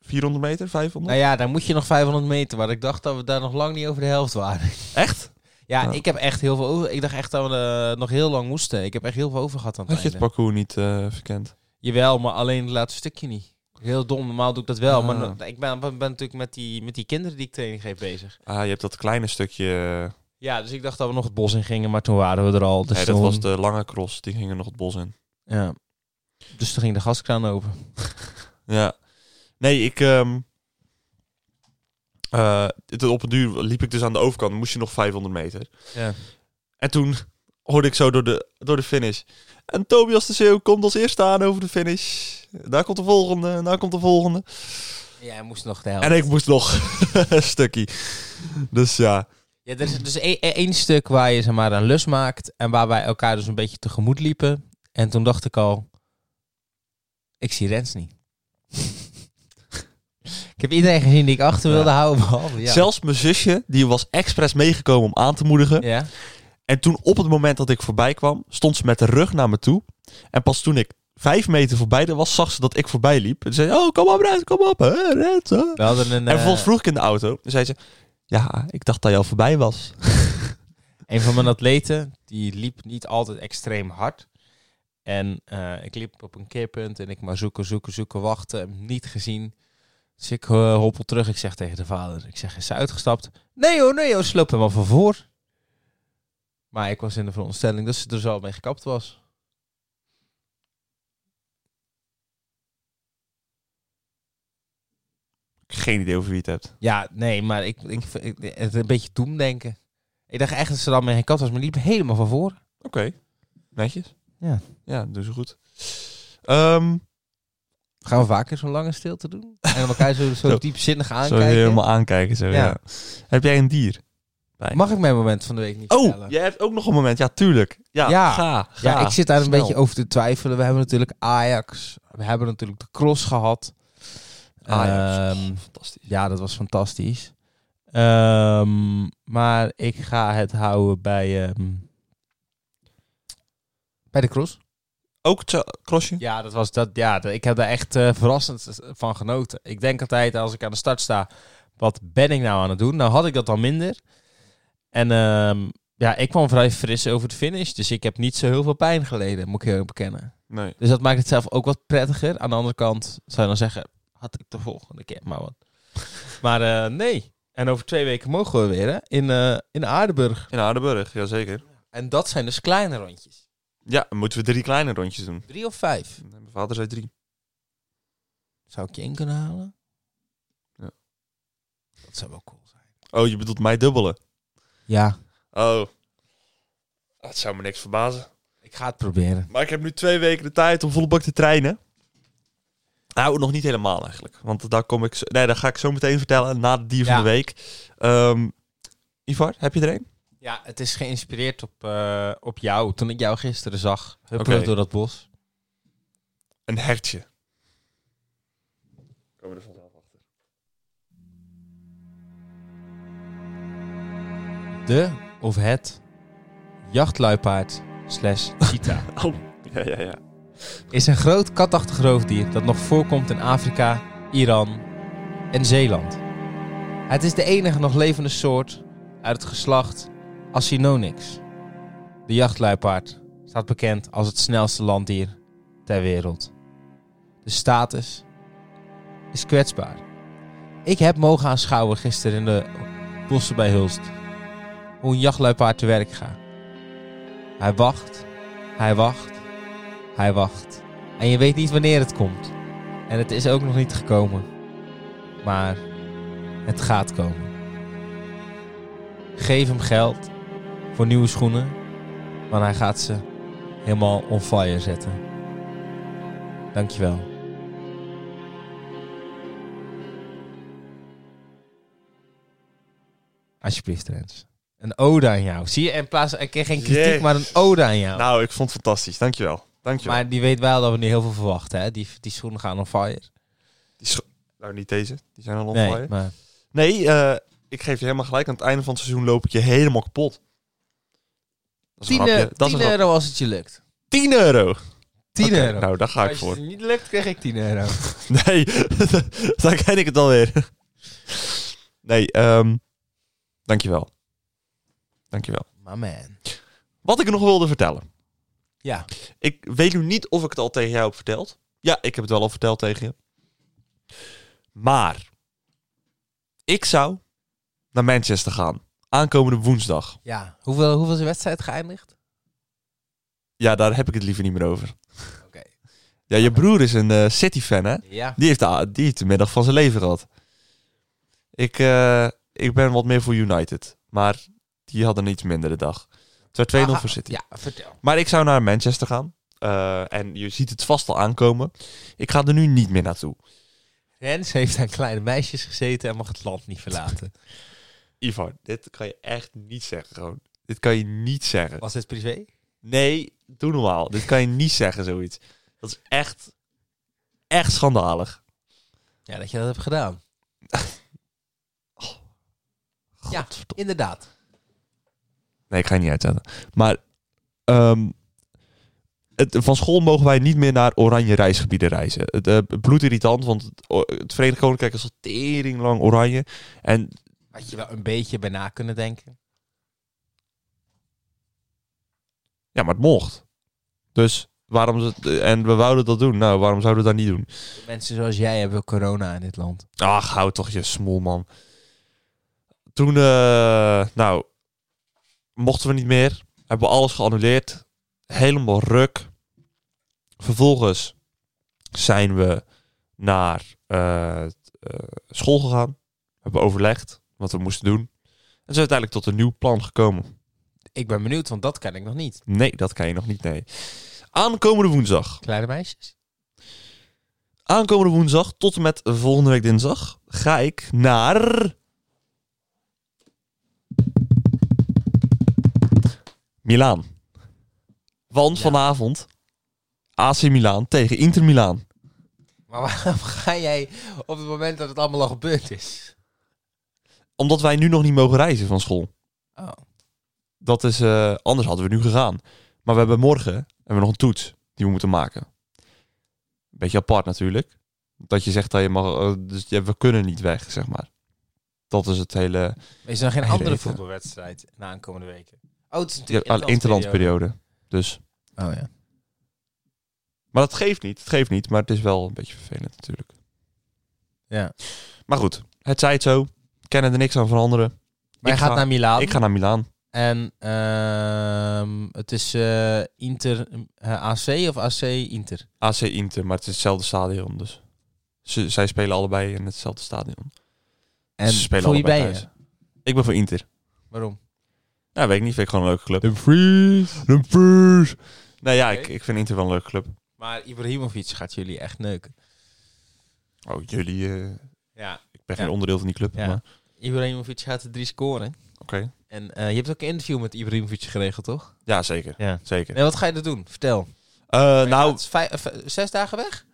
[SPEAKER 1] 400 meter, 500?
[SPEAKER 2] Nou ja, dan moet je nog 500 meter. Maar ik dacht dat we daar nog lang niet over de helft waren.
[SPEAKER 1] Echt?
[SPEAKER 2] Ja,
[SPEAKER 1] Ja.
[SPEAKER 2] ik heb echt heel veel over. Ik dacht echt dat we eh, nog heel lang moesten. Ik heb echt heel veel over gehad aan het
[SPEAKER 1] Had je het
[SPEAKER 2] einde.
[SPEAKER 1] parcours niet eh, verkend?
[SPEAKER 2] Jawel, maar alleen het laatste stukje niet. Heel dom, normaal doe ik dat wel. Maar
[SPEAKER 1] Ah.
[SPEAKER 2] no- ik ben, ben ben natuurlijk met die, met die kinderen die ik training geef bezig.
[SPEAKER 1] Ah, je hebt dat kleine stukje... eh,
[SPEAKER 2] Ja, dus ik dacht dat we nog het bos in gingen, maar toen waren we er al. Dus
[SPEAKER 1] nee, dat
[SPEAKER 2] toen-
[SPEAKER 1] was de lange cross. Die gingen nog het bos in.
[SPEAKER 2] ja. Dus toen ging de gaskraan open.
[SPEAKER 1] Ja. Nee, ik... ehm, eh, het- op een duur liep ik dus aan de overkant. Moest je nog 500 meter.
[SPEAKER 2] Ja.
[SPEAKER 1] En toen hoorde ik zo door de, door de finish. En Tobias de Zeeuw komt als eerste aan over de finish. Daar komt de volgende, daar komt de volgende.
[SPEAKER 2] Jij moest nog de helft.
[SPEAKER 1] En ik moest nog een stukje. Dus ja.
[SPEAKER 2] Ja, er is dus één- één stuk waar je zeg maar, een lus maakt en waar wij elkaar dus een beetje tegemoet liepen. En toen dacht ik al, ik zie Rens niet. ik heb iedereen gezien die ik achter wilde houden, behalve ja.
[SPEAKER 1] Zelfs mijn zusje, die was expres meegekomen om aan te moedigen.
[SPEAKER 2] Ja,
[SPEAKER 1] En toen op het moment dat ik voorbij kwam, stond ze met de rug naar me toe. En pas toen ik vijf meter voorbij was, zag ze dat ik voorbij liep. En zei ze, oh, kom op, Red, kom op, hè, Red, hè."
[SPEAKER 2] we hadden een,
[SPEAKER 1] En vervolgens
[SPEAKER 2] eh,
[SPEAKER 1] vroeg ik in de auto. En zei ze, ja, ik dacht dat je al voorbij was.
[SPEAKER 2] een van mijn atleten, die liep niet altijd extreem hard. En eh, ik liep op een keerpunt en ik maar zoeken, zoeken, zoeken, wachten, hem niet gezien. Dus ik eh, hoppel terug, ik zeg tegen de vader, ik zeg, is ze uitgestapt? Nee hoor, nee hoor, sloop hem al van voor. Maar ik was in de veronderstelling dat ze er zo al mee gekapt was.
[SPEAKER 1] Geen idee over wie het hebt.
[SPEAKER 2] Ja, nee, maar ik, ik, ik- het een beetje doemdenken. Ik dacht echt dat ze er al mee gekapt was, maar die liep helemaal van voor.
[SPEAKER 1] Oké, netjes.
[SPEAKER 2] Ja.
[SPEAKER 1] Ja, doen ze goed. Ehm,
[SPEAKER 2] Gaan we vaker zo'n lange stilte doen? En elkaar zo, zo
[SPEAKER 1] Zo.
[SPEAKER 2] diepzinnig
[SPEAKER 1] zo
[SPEAKER 2] aankijken?
[SPEAKER 1] helemaal aankijken. Zo, ja.
[SPEAKER 2] Ja.
[SPEAKER 1] Heb jij een dier? bij?
[SPEAKER 2] Mag ik mijn moment van de week niet
[SPEAKER 1] Oh,
[SPEAKER 2] vertellen?
[SPEAKER 1] jij hebt ook nog een moment. Ja, tuurlijk. Ja,
[SPEAKER 2] Ja.
[SPEAKER 1] ga. ga.
[SPEAKER 2] Ja, ik zit daar een
[SPEAKER 1] Snel.
[SPEAKER 2] beetje over te twijfelen. We hebben natuurlijk Ajax. We hebben natuurlijk de cross gehad.
[SPEAKER 1] Ajax.
[SPEAKER 2] Ehm,
[SPEAKER 1] Fantastisch.
[SPEAKER 2] ja, dat was fantastisch. Ehm, maar ik ga het houden bij, ehm, bij de cross.
[SPEAKER 1] Ook het crossje?
[SPEAKER 2] Ja, dat was dat. Ja, d- ik heb daar echt eh, verrassend van genoten. Ik denk altijd als ik aan de start sta, wat ben ik nou aan het doen? Nou had ik dat al minder. En ehm, ja, ik kwam vrij fris over de finish, dus ik heb niet zo heel veel pijn geleden, moet ik heel eerlijk bekennen.
[SPEAKER 1] Nee.
[SPEAKER 2] Dus dat maakt het zelf ook wat prettiger. Aan de andere kant zou je dan zeggen, had ik de volgende keer maar wat. maar eh, nee. En over twee weken mogen we weer hè? In, eh, in Aardenburg.
[SPEAKER 1] In Aardenburg, jazeker.
[SPEAKER 2] En dat zijn dus kleine rondjes.
[SPEAKER 1] Ja, dan moeten we drie kleine rondjes doen.
[SPEAKER 2] Drie of vijf.
[SPEAKER 1] Nee, Mijn vader zei drie.
[SPEAKER 2] Zou ik je in kunnen halen?
[SPEAKER 1] Ja.
[SPEAKER 2] Dat zou wel cool zijn.
[SPEAKER 1] Oh, je bedoelt mij dubbelen?
[SPEAKER 2] Ja,
[SPEAKER 1] Oh. Dat zou me niks verbazen.
[SPEAKER 2] ik ga het proberen.
[SPEAKER 1] Maar ik heb nu twee weken de tijd om volle bak te trainen. Nou, nog niet helemaal eigenlijk. Want daar kom ik. Zo, nee, dat ga ik zo meteen vertellen na de dier van
[SPEAKER 2] Ja.
[SPEAKER 1] de week. Ehm Ivar, heb je er een?
[SPEAKER 2] Ja, het is geïnspireerd op, eh, op jou. Toen ik jou gisteren zag, huppelend
[SPEAKER 1] Oké.
[SPEAKER 2] door dat bos.
[SPEAKER 1] Een hertje. Komen er vanzelf achter.
[SPEAKER 2] De of het jachtluipaard slash cheetah
[SPEAKER 1] Oh, ja, ja, ja.
[SPEAKER 2] is een groot katachtig roofdier dat nog voorkomt in Afrika, Iran en Zeeland. Het is de enige nog levende soort uit het geslacht Acinonyx. De jachtluipaard staat bekend als het snelste landdier ter wereld. De status is kwetsbaar. Ik heb mogen aanschouwen gisteren in de bossen bij Hulst hoe een jachtluipaard te werk gaat. Hij wacht, hij wacht, hij wacht. En je weet niet wanneer het komt. En het is ook nog niet gekomen. Maar het gaat komen. Geef hem geld voor nieuwe schoenen. Want hij gaat ze helemaal on fire zetten. Dankjewel. Alsjeblieft, Rens. Een ode aan jou. Zie je, in plaats ik kreeg geen kritiek,
[SPEAKER 1] Jezus.
[SPEAKER 2] maar een ode aan jou.
[SPEAKER 1] Nou, ik vond het fantastisch. Dankjewel. Dankjewel.
[SPEAKER 2] Maar die weet wel dat we nu heel veel verwachten. Hè? Die, die schoenen gaan on fire.
[SPEAKER 1] Die scho- nou, niet deze. Die zijn al on
[SPEAKER 2] nee,
[SPEAKER 1] fire.
[SPEAKER 2] maar
[SPEAKER 1] Nee, eh, ik geef je helemaal gelijk. Aan het einde van het seizoen loop ik je helemaal kapot. Dat is
[SPEAKER 2] 10,
[SPEAKER 1] een grapje. Dat is een grap.
[SPEAKER 2] e- euro als het je lukt.
[SPEAKER 1] 10 euro.
[SPEAKER 2] 10
[SPEAKER 1] Oké,
[SPEAKER 2] euro.
[SPEAKER 1] Nou, daar ga ik
[SPEAKER 2] als je
[SPEAKER 1] voor.
[SPEAKER 2] het niet lukt, krijg ik 10 euro.
[SPEAKER 1] Nee, daar ken ik het alweer. Nee, ehm dankjewel. Dankjewel.
[SPEAKER 2] Maar man.
[SPEAKER 1] Wat ik nog wilde vertellen.
[SPEAKER 2] Ja.
[SPEAKER 1] Ik weet nu niet of ik het al tegen jou heb verteld. Ja, ik heb het wel al verteld tegen je. Maar ik zou naar Manchester gaan. Aankomende woensdag.
[SPEAKER 2] Ja. Hoeveel, hoeveel is de wedstrijd geëindigd?
[SPEAKER 1] Ja, daar heb ik het liever niet meer over.
[SPEAKER 2] Oké.
[SPEAKER 1] Ja, je broer is een eh, City-fan, hè?
[SPEAKER 2] Ja.
[SPEAKER 1] Die heeft, de, die heeft de middag van zijn leven gehad. Ik, eh, ik ben wat meer voor United. Maar die hadden een iets mindere dag. Het werd 2-0
[SPEAKER 2] Aha,
[SPEAKER 1] voor City.
[SPEAKER 2] Ah, Ja, vertel.
[SPEAKER 1] Maar ik zou naar Manchester gaan. Eh, en je ziet het vast al aankomen. Ik ga er nu niet meer naartoe.
[SPEAKER 2] Rens heeft aan kleine meisjes gezeten en mag het land niet verlaten.
[SPEAKER 1] Ivan, dit kan je echt niet zeggen gewoon. Dit kan je niet zeggen.
[SPEAKER 2] Was dit privé?
[SPEAKER 1] Nee, doe normaal. Dit kan je niet zeggen, zoiets. Dat is echt, echt schandalig.
[SPEAKER 2] Ja, dat je dat hebt gedaan. Ja.
[SPEAKER 1] Godverdomme.
[SPEAKER 2] Inderdaad.
[SPEAKER 1] Nee, ik ga je niet uitzetten. Maar ehm, het, van school mogen wij niet meer naar oranje reisgebieden reizen. Het eh, bloedirritant, want het, o- het Verenigd Koninkrijk is al tering lang oranje. En
[SPEAKER 2] Had je wel een beetje bij na kunnen denken.
[SPEAKER 1] ja, maar het mocht. Dus waarom... ze het- En we wouden dat doen. Nou, waarom zouden we dat niet doen?
[SPEAKER 2] Mensen zoals jij hebben corona in dit land.
[SPEAKER 1] Ach, hou toch je smoel, man. Toen, eh, nou, mochten we niet meer. Hebben we alles geannuleerd. Helemaal ruk. Vervolgens zijn we naar eh, t- eh, school gegaan. Hebben overlegd wat we moesten doen. En zijn uiteindelijk tot een nieuw plan gekomen.
[SPEAKER 2] Ik ben benieuwd, want dat kan ik nog niet.
[SPEAKER 1] Nee, dat kan je nog niet, nee. Aankomende woensdag.
[SPEAKER 2] Kleine meisjes?
[SPEAKER 1] Aankomende woensdag tot en met volgende week dinsdag ga ik naar. Milaan. Want
[SPEAKER 2] Ja.
[SPEAKER 1] vanavond AC Milaan tegen Inter Milaan.
[SPEAKER 2] Maar waarom ga jij op het moment dat het allemaal al gebeurd is?
[SPEAKER 1] Omdat wij nu nog niet mogen reizen van school.
[SPEAKER 2] Oh.
[SPEAKER 1] Dat is, eh, anders hadden we nu gegaan. Maar we hebben morgen hebben we nog een toets die we moeten maken. Beetje apart natuurlijk. Dat je zegt dat je mag, eh, dus ja, we kunnen niet weg, zeg maar. Dat is het hele
[SPEAKER 2] Is er dan geen
[SPEAKER 1] Geen
[SPEAKER 2] andere
[SPEAKER 1] idee.
[SPEAKER 2] voetbalwedstrijd na aankomende weken? Oh, het is
[SPEAKER 1] Ja,
[SPEAKER 2] natuurlijk
[SPEAKER 1] alleen interlandperiode. Dus.
[SPEAKER 2] Oh ja.
[SPEAKER 1] Maar dat geeft niet. Het geeft niet, maar het is wel een beetje vervelend natuurlijk.
[SPEAKER 2] ja.
[SPEAKER 1] Maar goed, het zij het zo. Kennen er niks aan veranderen.
[SPEAKER 2] Maar je
[SPEAKER 1] Ik
[SPEAKER 2] gaat
[SPEAKER 1] ga-
[SPEAKER 2] naar Milaan.
[SPEAKER 1] Ik ga naar Milaan.
[SPEAKER 2] En ehm, het is eh, Inter eh, AC of AC Inter?
[SPEAKER 1] AC Inter, maar het is hetzelfde stadion. Dus Ze, zij spelen allebei in hetzelfde stadion.
[SPEAKER 2] En
[SPEAKER 1] Ze spelen
[SPEAKER 2] voor je
[SPEAKER 1] allebei
[SPEAKER 2] bij je?
[SPEAKER 1] thuis. Ik ben voor Inter.
[SPEAKER 2] Waarom?
[SPEAKER 1] Ja, weet ik niet. Vind ik gewoon een leuke club.
[SPEAKER 2] De Vries.
[SPEAKER 1] Dumfries. Nou ja,
[SPEAKER 2] Oké.
[SPEAKER 1] ik, ik vind Inter wel een leuke club.
[SPEAKER 2] Maar Ibrahimovic gaat jullie echt neuken.
[SPEAKER 1] Oh, jullie... eh,
[SPEAKER 2] Ja.
[SPEAKER 1] ik ben
[SPEAKER 2] Ja.
[SPEAKER 1] geen onderdeel van die club.
[SPEAKER 2] Ja.
[SPEAKER 1] maar
[SPEAKER 2] Ibrahimovic gaat er drie scoren.
[SPEAKER 1] Oké.
[SPEAKER 2] En eh, je hebt ook een interview met Ibrahimovic geregeld, toch?
[SPEAKER 1] Ja, zeker.
[SPEAKER 2] Ja.
[SPEAKER 1] Zeker.
[SPEAKER 2] Nee, wat ga je er doen? Vertel.
[SPEAKER 1] Eh,
[SPEAKER 2] Nou,
[SPEAKER 1] nou,
[SPEAKER 2] zes dagen weg?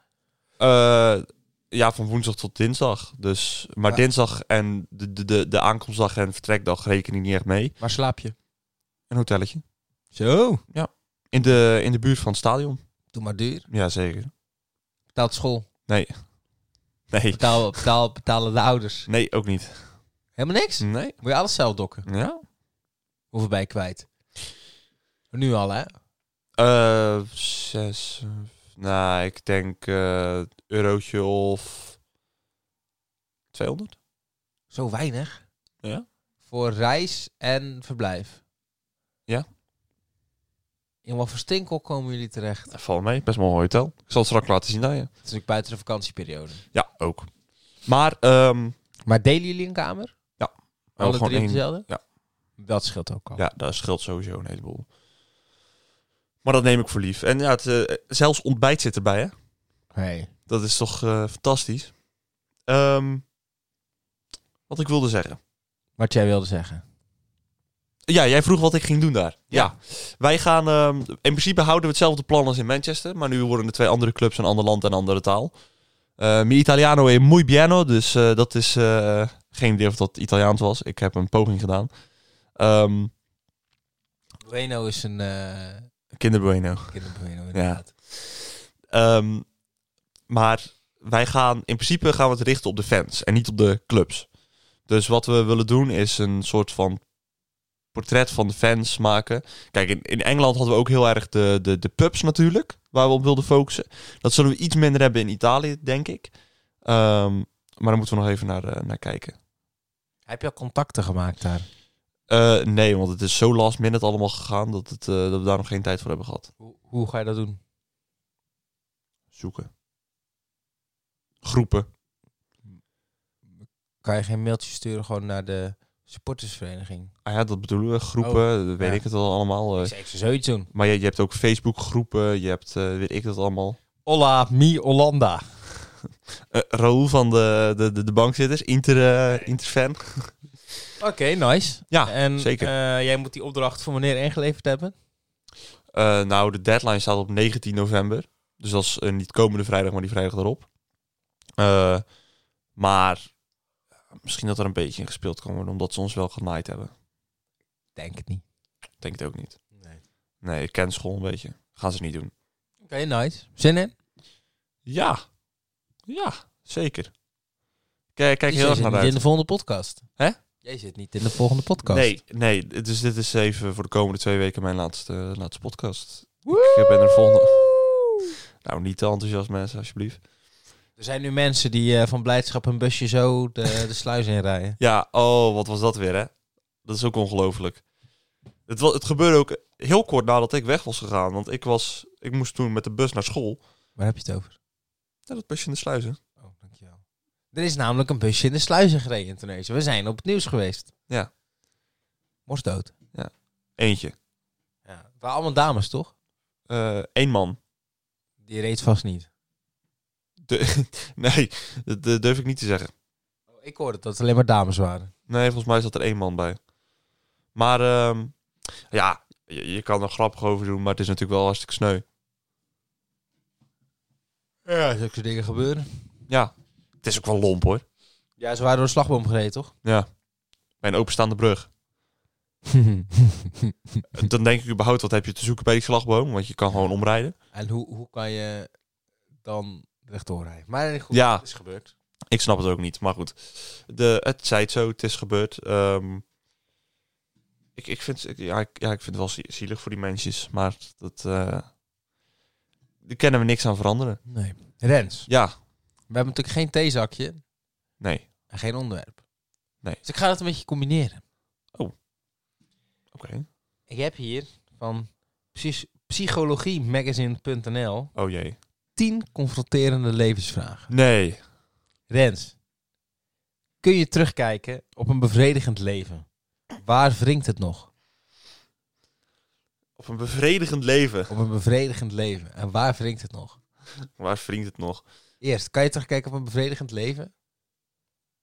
[SPEAKER 1] Eh, ja, van woensdag tot dinsdag. Dus, maar
[SPEAKER 2] Ja.
[SPEAKER 1] dinsdag en de, de, de, de aankomstdag en vertrekdag reken ik niet echt mee.
[SPEAKER 2] Waar slaap je?
[SPEAKER 1] Een hotelletje.
[SPEAKER 2] Zo.
[SPEAKER 1] In de, in de buurt van het stadion.
[SPEAKER 2] Doe maar duur.
[SPEAKER 1] Jazeker.
[SPEAKER 2] Betaalt school.
[SPEAKER 1] Nee.
[SPEAKER 2] Betaal, betaal, betalen de ouders.
[SPEAKER 1] Nee, ook niet.
[SPEAKER 2] Helemaal niks.
[SPEAKER 1] Nee.
[SPEAKER 2] Moet je alles zelf dokken.
[SPEAKER 1] Ja.
[SPEAKER 2] Hoeveel bij je kwijt? Nu al, hè?
[SPEAKER 1] Eh, zes. eh, nou, ik denk eh eurotje of 200.
[SPEAKER 2] Zo weinig.
[SPEAKER 1] Ja.
[SPEAKER 2] Voor reis en verblijf.
[SPEAKER 1] Ja.
[SPEAKER 2] In wat voor stinkel komen jullie terecht?
[SPEAKER 1] Val mee. Best wel een mooi hotel. Ik zal het straks laten zien aan je.
[SPEAKER 2] Het is natuurlijk buiten de vakantieperiode.
[SPEAKER 1] Ja, ook. Maar ehm we
[SPEAKER 2] Maar Oh, delen jullie een kamer? Alle
[SPEAKER 1] hebben gewoon
[SPEAKER 2] drie
[SPEAKER 1] één-
[SPEAKER 2] op dezelfde?
[SPEAKER 1] ja.
[SPEAKER 2] Dat scheelt ook al.
[SPEAKER 1] Ja, daar scheelt sowieso een heleboel. Maar dat neem ik voor lief. En ja, het, eh, zelfs ontbijt zit erbij, hè?
[SPEAKER 2] Hey.
[SPEAKER 1] Dat is toch eh, fantastisch. Ehm, wat ik wilde zeggen.
[SPEAKER 2] Wat jij wilde zeggen.
[SPEAKER 1] Ja, jij vroeg wat ik ging doen daar. Ja.
[SPEAKER 2] Ja.
[SPEAKER 1] Wij gaan... ehm, in principe houden we hetzelfde plan als in Manchester. Maar nu worden er twee andere clubs, een ander land en een andere taal. Eh mi Italiano e muy piano. Dus eh, dat is... eh, geen idee of dat Italiaans was. Ik heb een poging gedaan. Ehm,
[SPEAKER 2] Bueno is een eh
[SPEAKER 1] Kinderbueno.
[SPEAKER 2] kinderbueno inderdaad.
[SPEAKER 1] Ehm, maar wij gaan in principe gaan we het richten op de fans en niet op de clubs. Dus wat we willen doen is een soort van portret van de fans maken. Kijk, in, in Engeland hadden we ook heel erg de, de, de pubs natuurlijk, waar we op wilden focussen. Dat zullen we iets minder hebben in Italië, denk ik. Ehm, maar daar moeten we nog even naar, eh, naar kijken.
[SPEAKER 2] Heb je al contacten gemaakt daar?
[SPEAKER 1] Eh, nee, want het is zo last minute allemaal gegaan dat, het, eh, dat we daar nog geen tijd voor hebben gehad.
[SPEAKER 2] Hoe, hoe ga je dat doen?
[SPEAKER 1] Zoeken. Groepen.
[SPEAKER 2] Kan je geen mailtje sturen gewoon naar de supportersvereniging?
[SPEAKER 1] Ah ja, dat bedoelen we. Groepen, dat weet
[SPEAKER 2] Oh, ja. Dus-
[SPEAKER 1] ik het wel allemaal. eh.
[SPEAKER 2] Ik zou zoiets doen.
[SPEAKER 1] Maar je, je hebt ook Facebookgroepen, je hebt, eh, weet ik dat allemaal.
[SPEAKER 2] Hola, mi Hollanda.
[SPEAKER 1] Eh Raoul van de, de, de, de bankzitters, Inter, eh, Interfan.
[SPEAKER 2] Oké, nice.
[SPEAKER 1] Ja,
[SPEAKER 2] en,
[SPEAKER 1] zeker.
[SPEAKER 2] eh, jij moet die opdracht voor meneer ingeleverd hebben.
[SPEAKER 1] Eh, nou, de deadline staat op 19 november. Dus dat is eh, niet komende vrijdag, maar die vrijdag erop. Eh, maar misschien dat er een beetje in gespeeld kan worden, omdat ze ons wel genaaid hebben.
[SPEAKER 2] Denk het niet.
[SPEAKER 1] Ik Denk het ook niet.
[SPEAKER 2] Nee. Oké,
[SPEAKER 1] Nee, ik ken school een beetje. Gaan ze niet doen.
[SPEAKER 2] nice. Zin in?
[SPEAKER 1] Ja. Ja, zeker. Kijk, kijk
[SPEAKER 2] Dus
[SPEAKER 1] heel
[SPEAKER 2] jij
[SPEAKER 1] erg
[SPEAKER 2] zit
[SPEAKER 1] naar
[SPEAKER 2] niet in
[SPEAKER 1] uit.
[SPEAKER 2] de volgende podcast.
[SPEAKER 1] Hè?
[SPEAKER 2] Jij zit niet in de volgende podcast.
[SPEAKER 1] Nee, nee, dus dit is even voor de komende twee weken mijn laatste, laatste podcast.
[SPEAKER 2] Woe!
[SPEAKER 1] Ik ben er volgende- Nou, niet te enthousiast mensen, alsjeblieft.
[SPEAKER 2] Er zijn nu mensen die eh, van blijdschap een busje zo de, de sluis inrijden.
[SPEAKER 1] Ja, oh, wat was dat weer, hè? Dat is ook ongelooflijk. Het, wa- het gebeurde ook heel kort nadat ik weg was gegaan. Want ik, was, ik moest toen met de bus naar school.
[SPEAKER 2] Waar heb je het over?
[SPEAKER 1] Ja, dat busje in de sluizen.
[SPEAKER 2] Oh, dankjewel. Er is namelijk een busje in de sluizen gereden in Tunesië. We zijn op het nieuws geweest.
[SPEAKER 1] Ja.
[SPEAKER 2] Mos dood.
[SPEAKER 1] Eentje.
[SPEAKER 2] Ja. Het waren allemaal dames, toch?
[SPEAKER 1] Eén man.
[SPEAKER 2] Die reed vast niet.
[SPEAKER 1] De, nee, dat, dat durf ik niet te zeggen.
[SPEAKER 2] Oh, ik hoorde dat het alleen maar dames waren.
[SPEAKER 1] Nee, volgens mij zat er één man bij. Maar ehm, ja, je, je kan er grappig over doen, maar het is natuurlijk wel hartstikke sneu.
[SPEAKER 2] Ja, zulke dingen gebeuren.
[SPEAKER 1] Ja, het is ook wel lomp hoor.
[SPEAKER 2] Ja, ze waren door de slagboom gereden, toch?
[SPEAKER 1] Bij een openstaande brug. Dan denk ik überhaupt, wat heb je te zoeken bij die slagboom? Want je kan gewoon omrijden.
[SPEAKER 2] en hoe, hoe kan je dan rechtdoor rijden? Maar goed,
[SPEAKER 1] Ja.
[SPEAKER 2] het is gebeurd.
[SPEAKER 1] Ik snap het ook niet, maar goed. De, het zei het zo, het is gebeurd. Ehm, ik, ik, vind, ik- ja, ik, ja, ik vind het wel zie- zielig voor die mensjes, maar dat, eh daar kennen we niks aan veranderen.
[SPEAKER 2] Nee. Rens,
[SPEAKER 1] Ja,
[SPEAKER 2] we hebben natuurlijk geen theezakje
[SPEAKER 1] nee.
[SPEAKER 2] en geen onderwerp.
[SPEAKER 1] Nee.
[SPEAKER 2] Dus ik ga dat een beetje combineren.
[SPEAKER 1] Oké.
[SPEAKER 2] Ik heb hier van psy- psychologiemagazine.nl
[SPEAKER 1] Oh jee.
[SPEAKER 2] 10 confronterende levensvragen.
[SPEAKER 1] Nee.
[SPEAKER 2] Rens, kun je terugkijken op een bevredigend leven? Waar wringt het nog?
[SPEAKER 1] Op een bevredigend leven.
[SPEAKER 2] Op een bevredigend leven. En waar wringt het nog?
[SPEAKER 1] Waar vriend het nog?
[SPEAKER 2] Eerst, kan je terugkijken op een bevredigend leven?